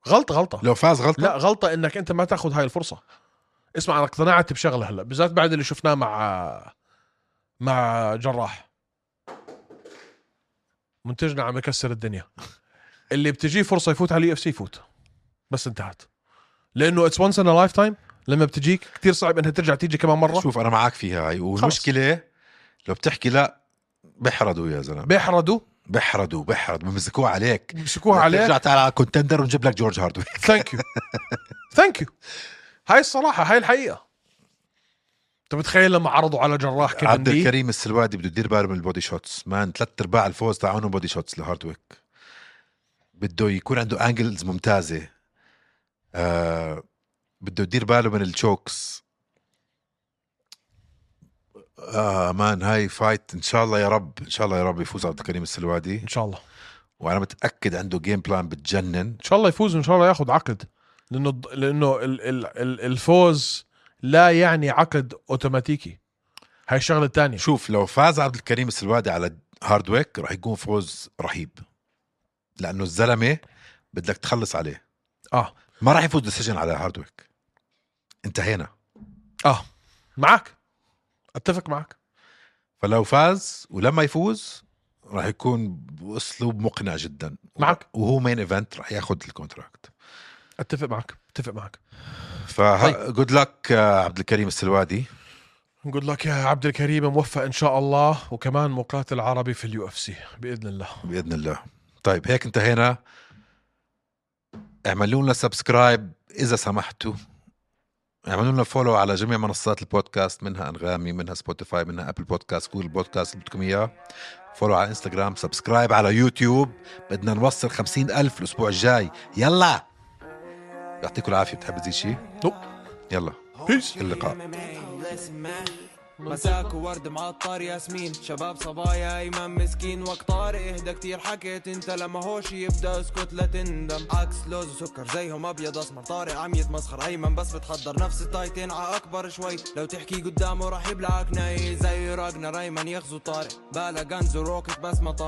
B: غلطه غلطه
A: لو فاز غلطه
B: لا غلطه انك انت ما تاخذ هاي الفرصه اسمع انا اقتنعت بشغله هلا بالذات بعد اللي شفناه مع مع جراح منتجنا عم يكسر الدنيا اللي بتجيه فرصه يفوت على اليو اف سي يفوت بس انتهت لانه اتس وانس ان لايف تايم لما بتجيك كثير صعب انها ترجع تيجي كمان مره
A: شوف انا معك فيها هاي والمشكله لو بتحكي لا بحردوا يا زلمه
B: بيحردوا
A: بحردوا بحرد بمسكوه عليك
B: بيمسكوها عليك
A: ترجع تعال على كونتندر ونجيب لك جورج هاردوي
B: ثانك يو ثانك يو هاي الصراحه هاي الحقيقه انت متخيل لما عرضوا على جراح كيفن
A: عبد
B: دي
A: الكريم السلوادي بده يدير باله من البودي شوتس مان ثلاث ارباع الفوز تاعونه بودي شوتس لهاردويك بده يكون عنده انجلز ممتازه آه بده يدير باله من التشوكس اه مان هاي فايت ان شاء الله يا رب ان شاء الله يا رب يفوز عبد الكريم السلوادي
B: ان شاء الله
A: وانا متاكد عنده جيم بلان بتجنن
B: ان شاء الله يفوز وان شاء الله ياخذ عقد لانه لانه ال ال ال الفوز لا يعني عقد اوتوماتيكي هاي الشغله الثانيه
A: شوف لو فاز عبد الكريم السلوادي على هاردويك راح يكون فوز رهيب لانه الزلمه بدك تخلص عليه
B: اه
A: ما راح يفوز ديسيجن على هاردويك انتهينا
B: اه معك اتفق معك
A: فلو فاز ولما يفوز راح يكون باسلوب مقنع جدا
B: معك.
A: وهو مين ايفنت راح ياخذ الكونتراكت
B: اتفق معك اتفق معك
A: ف جود لك آه، عبد الكريم السلوادي
B: نقول لك يا عبد الكريم موفق ان شاء الله وكمان مقاتل عربي في اليو اف سي باذن الله
A: باذن الله طيب هيك انتهينا اعملوا لنا سبسكرايب اذا سمحتوا اعملوا لنا فولو على جميع منصات البودكاست منها انغامي منها سبوتيفاي منها ابل بودكاست جوجل بودكاست اللي بدكم اياه فولو على انستغرام سبسكرايب على يوتيوب بدنا نوصل خمسين ألف الأسبوع الجاي يلا يعطيكم العافية بتحب تزيد شيء؟
B: نوب.
A: يلا
B: بيس
A: اللقاء
C: مساك وورد معطر ياسمين شباب صبايا ايمن مسكين وقت طارق اهدى كتير حكيت انت لما هوش يبدا اسكت لا تندم عكس لوز وسكر زيهم ابيض اسمر طارق عم يتمسخر ايمن بس بتحضر نفس التايتين ع اكبر شوي لو تحكي قدامه راح يبلعك ناي زي راجنا ريمان يغزو طارق بالا غنز وروكت بس ما طارق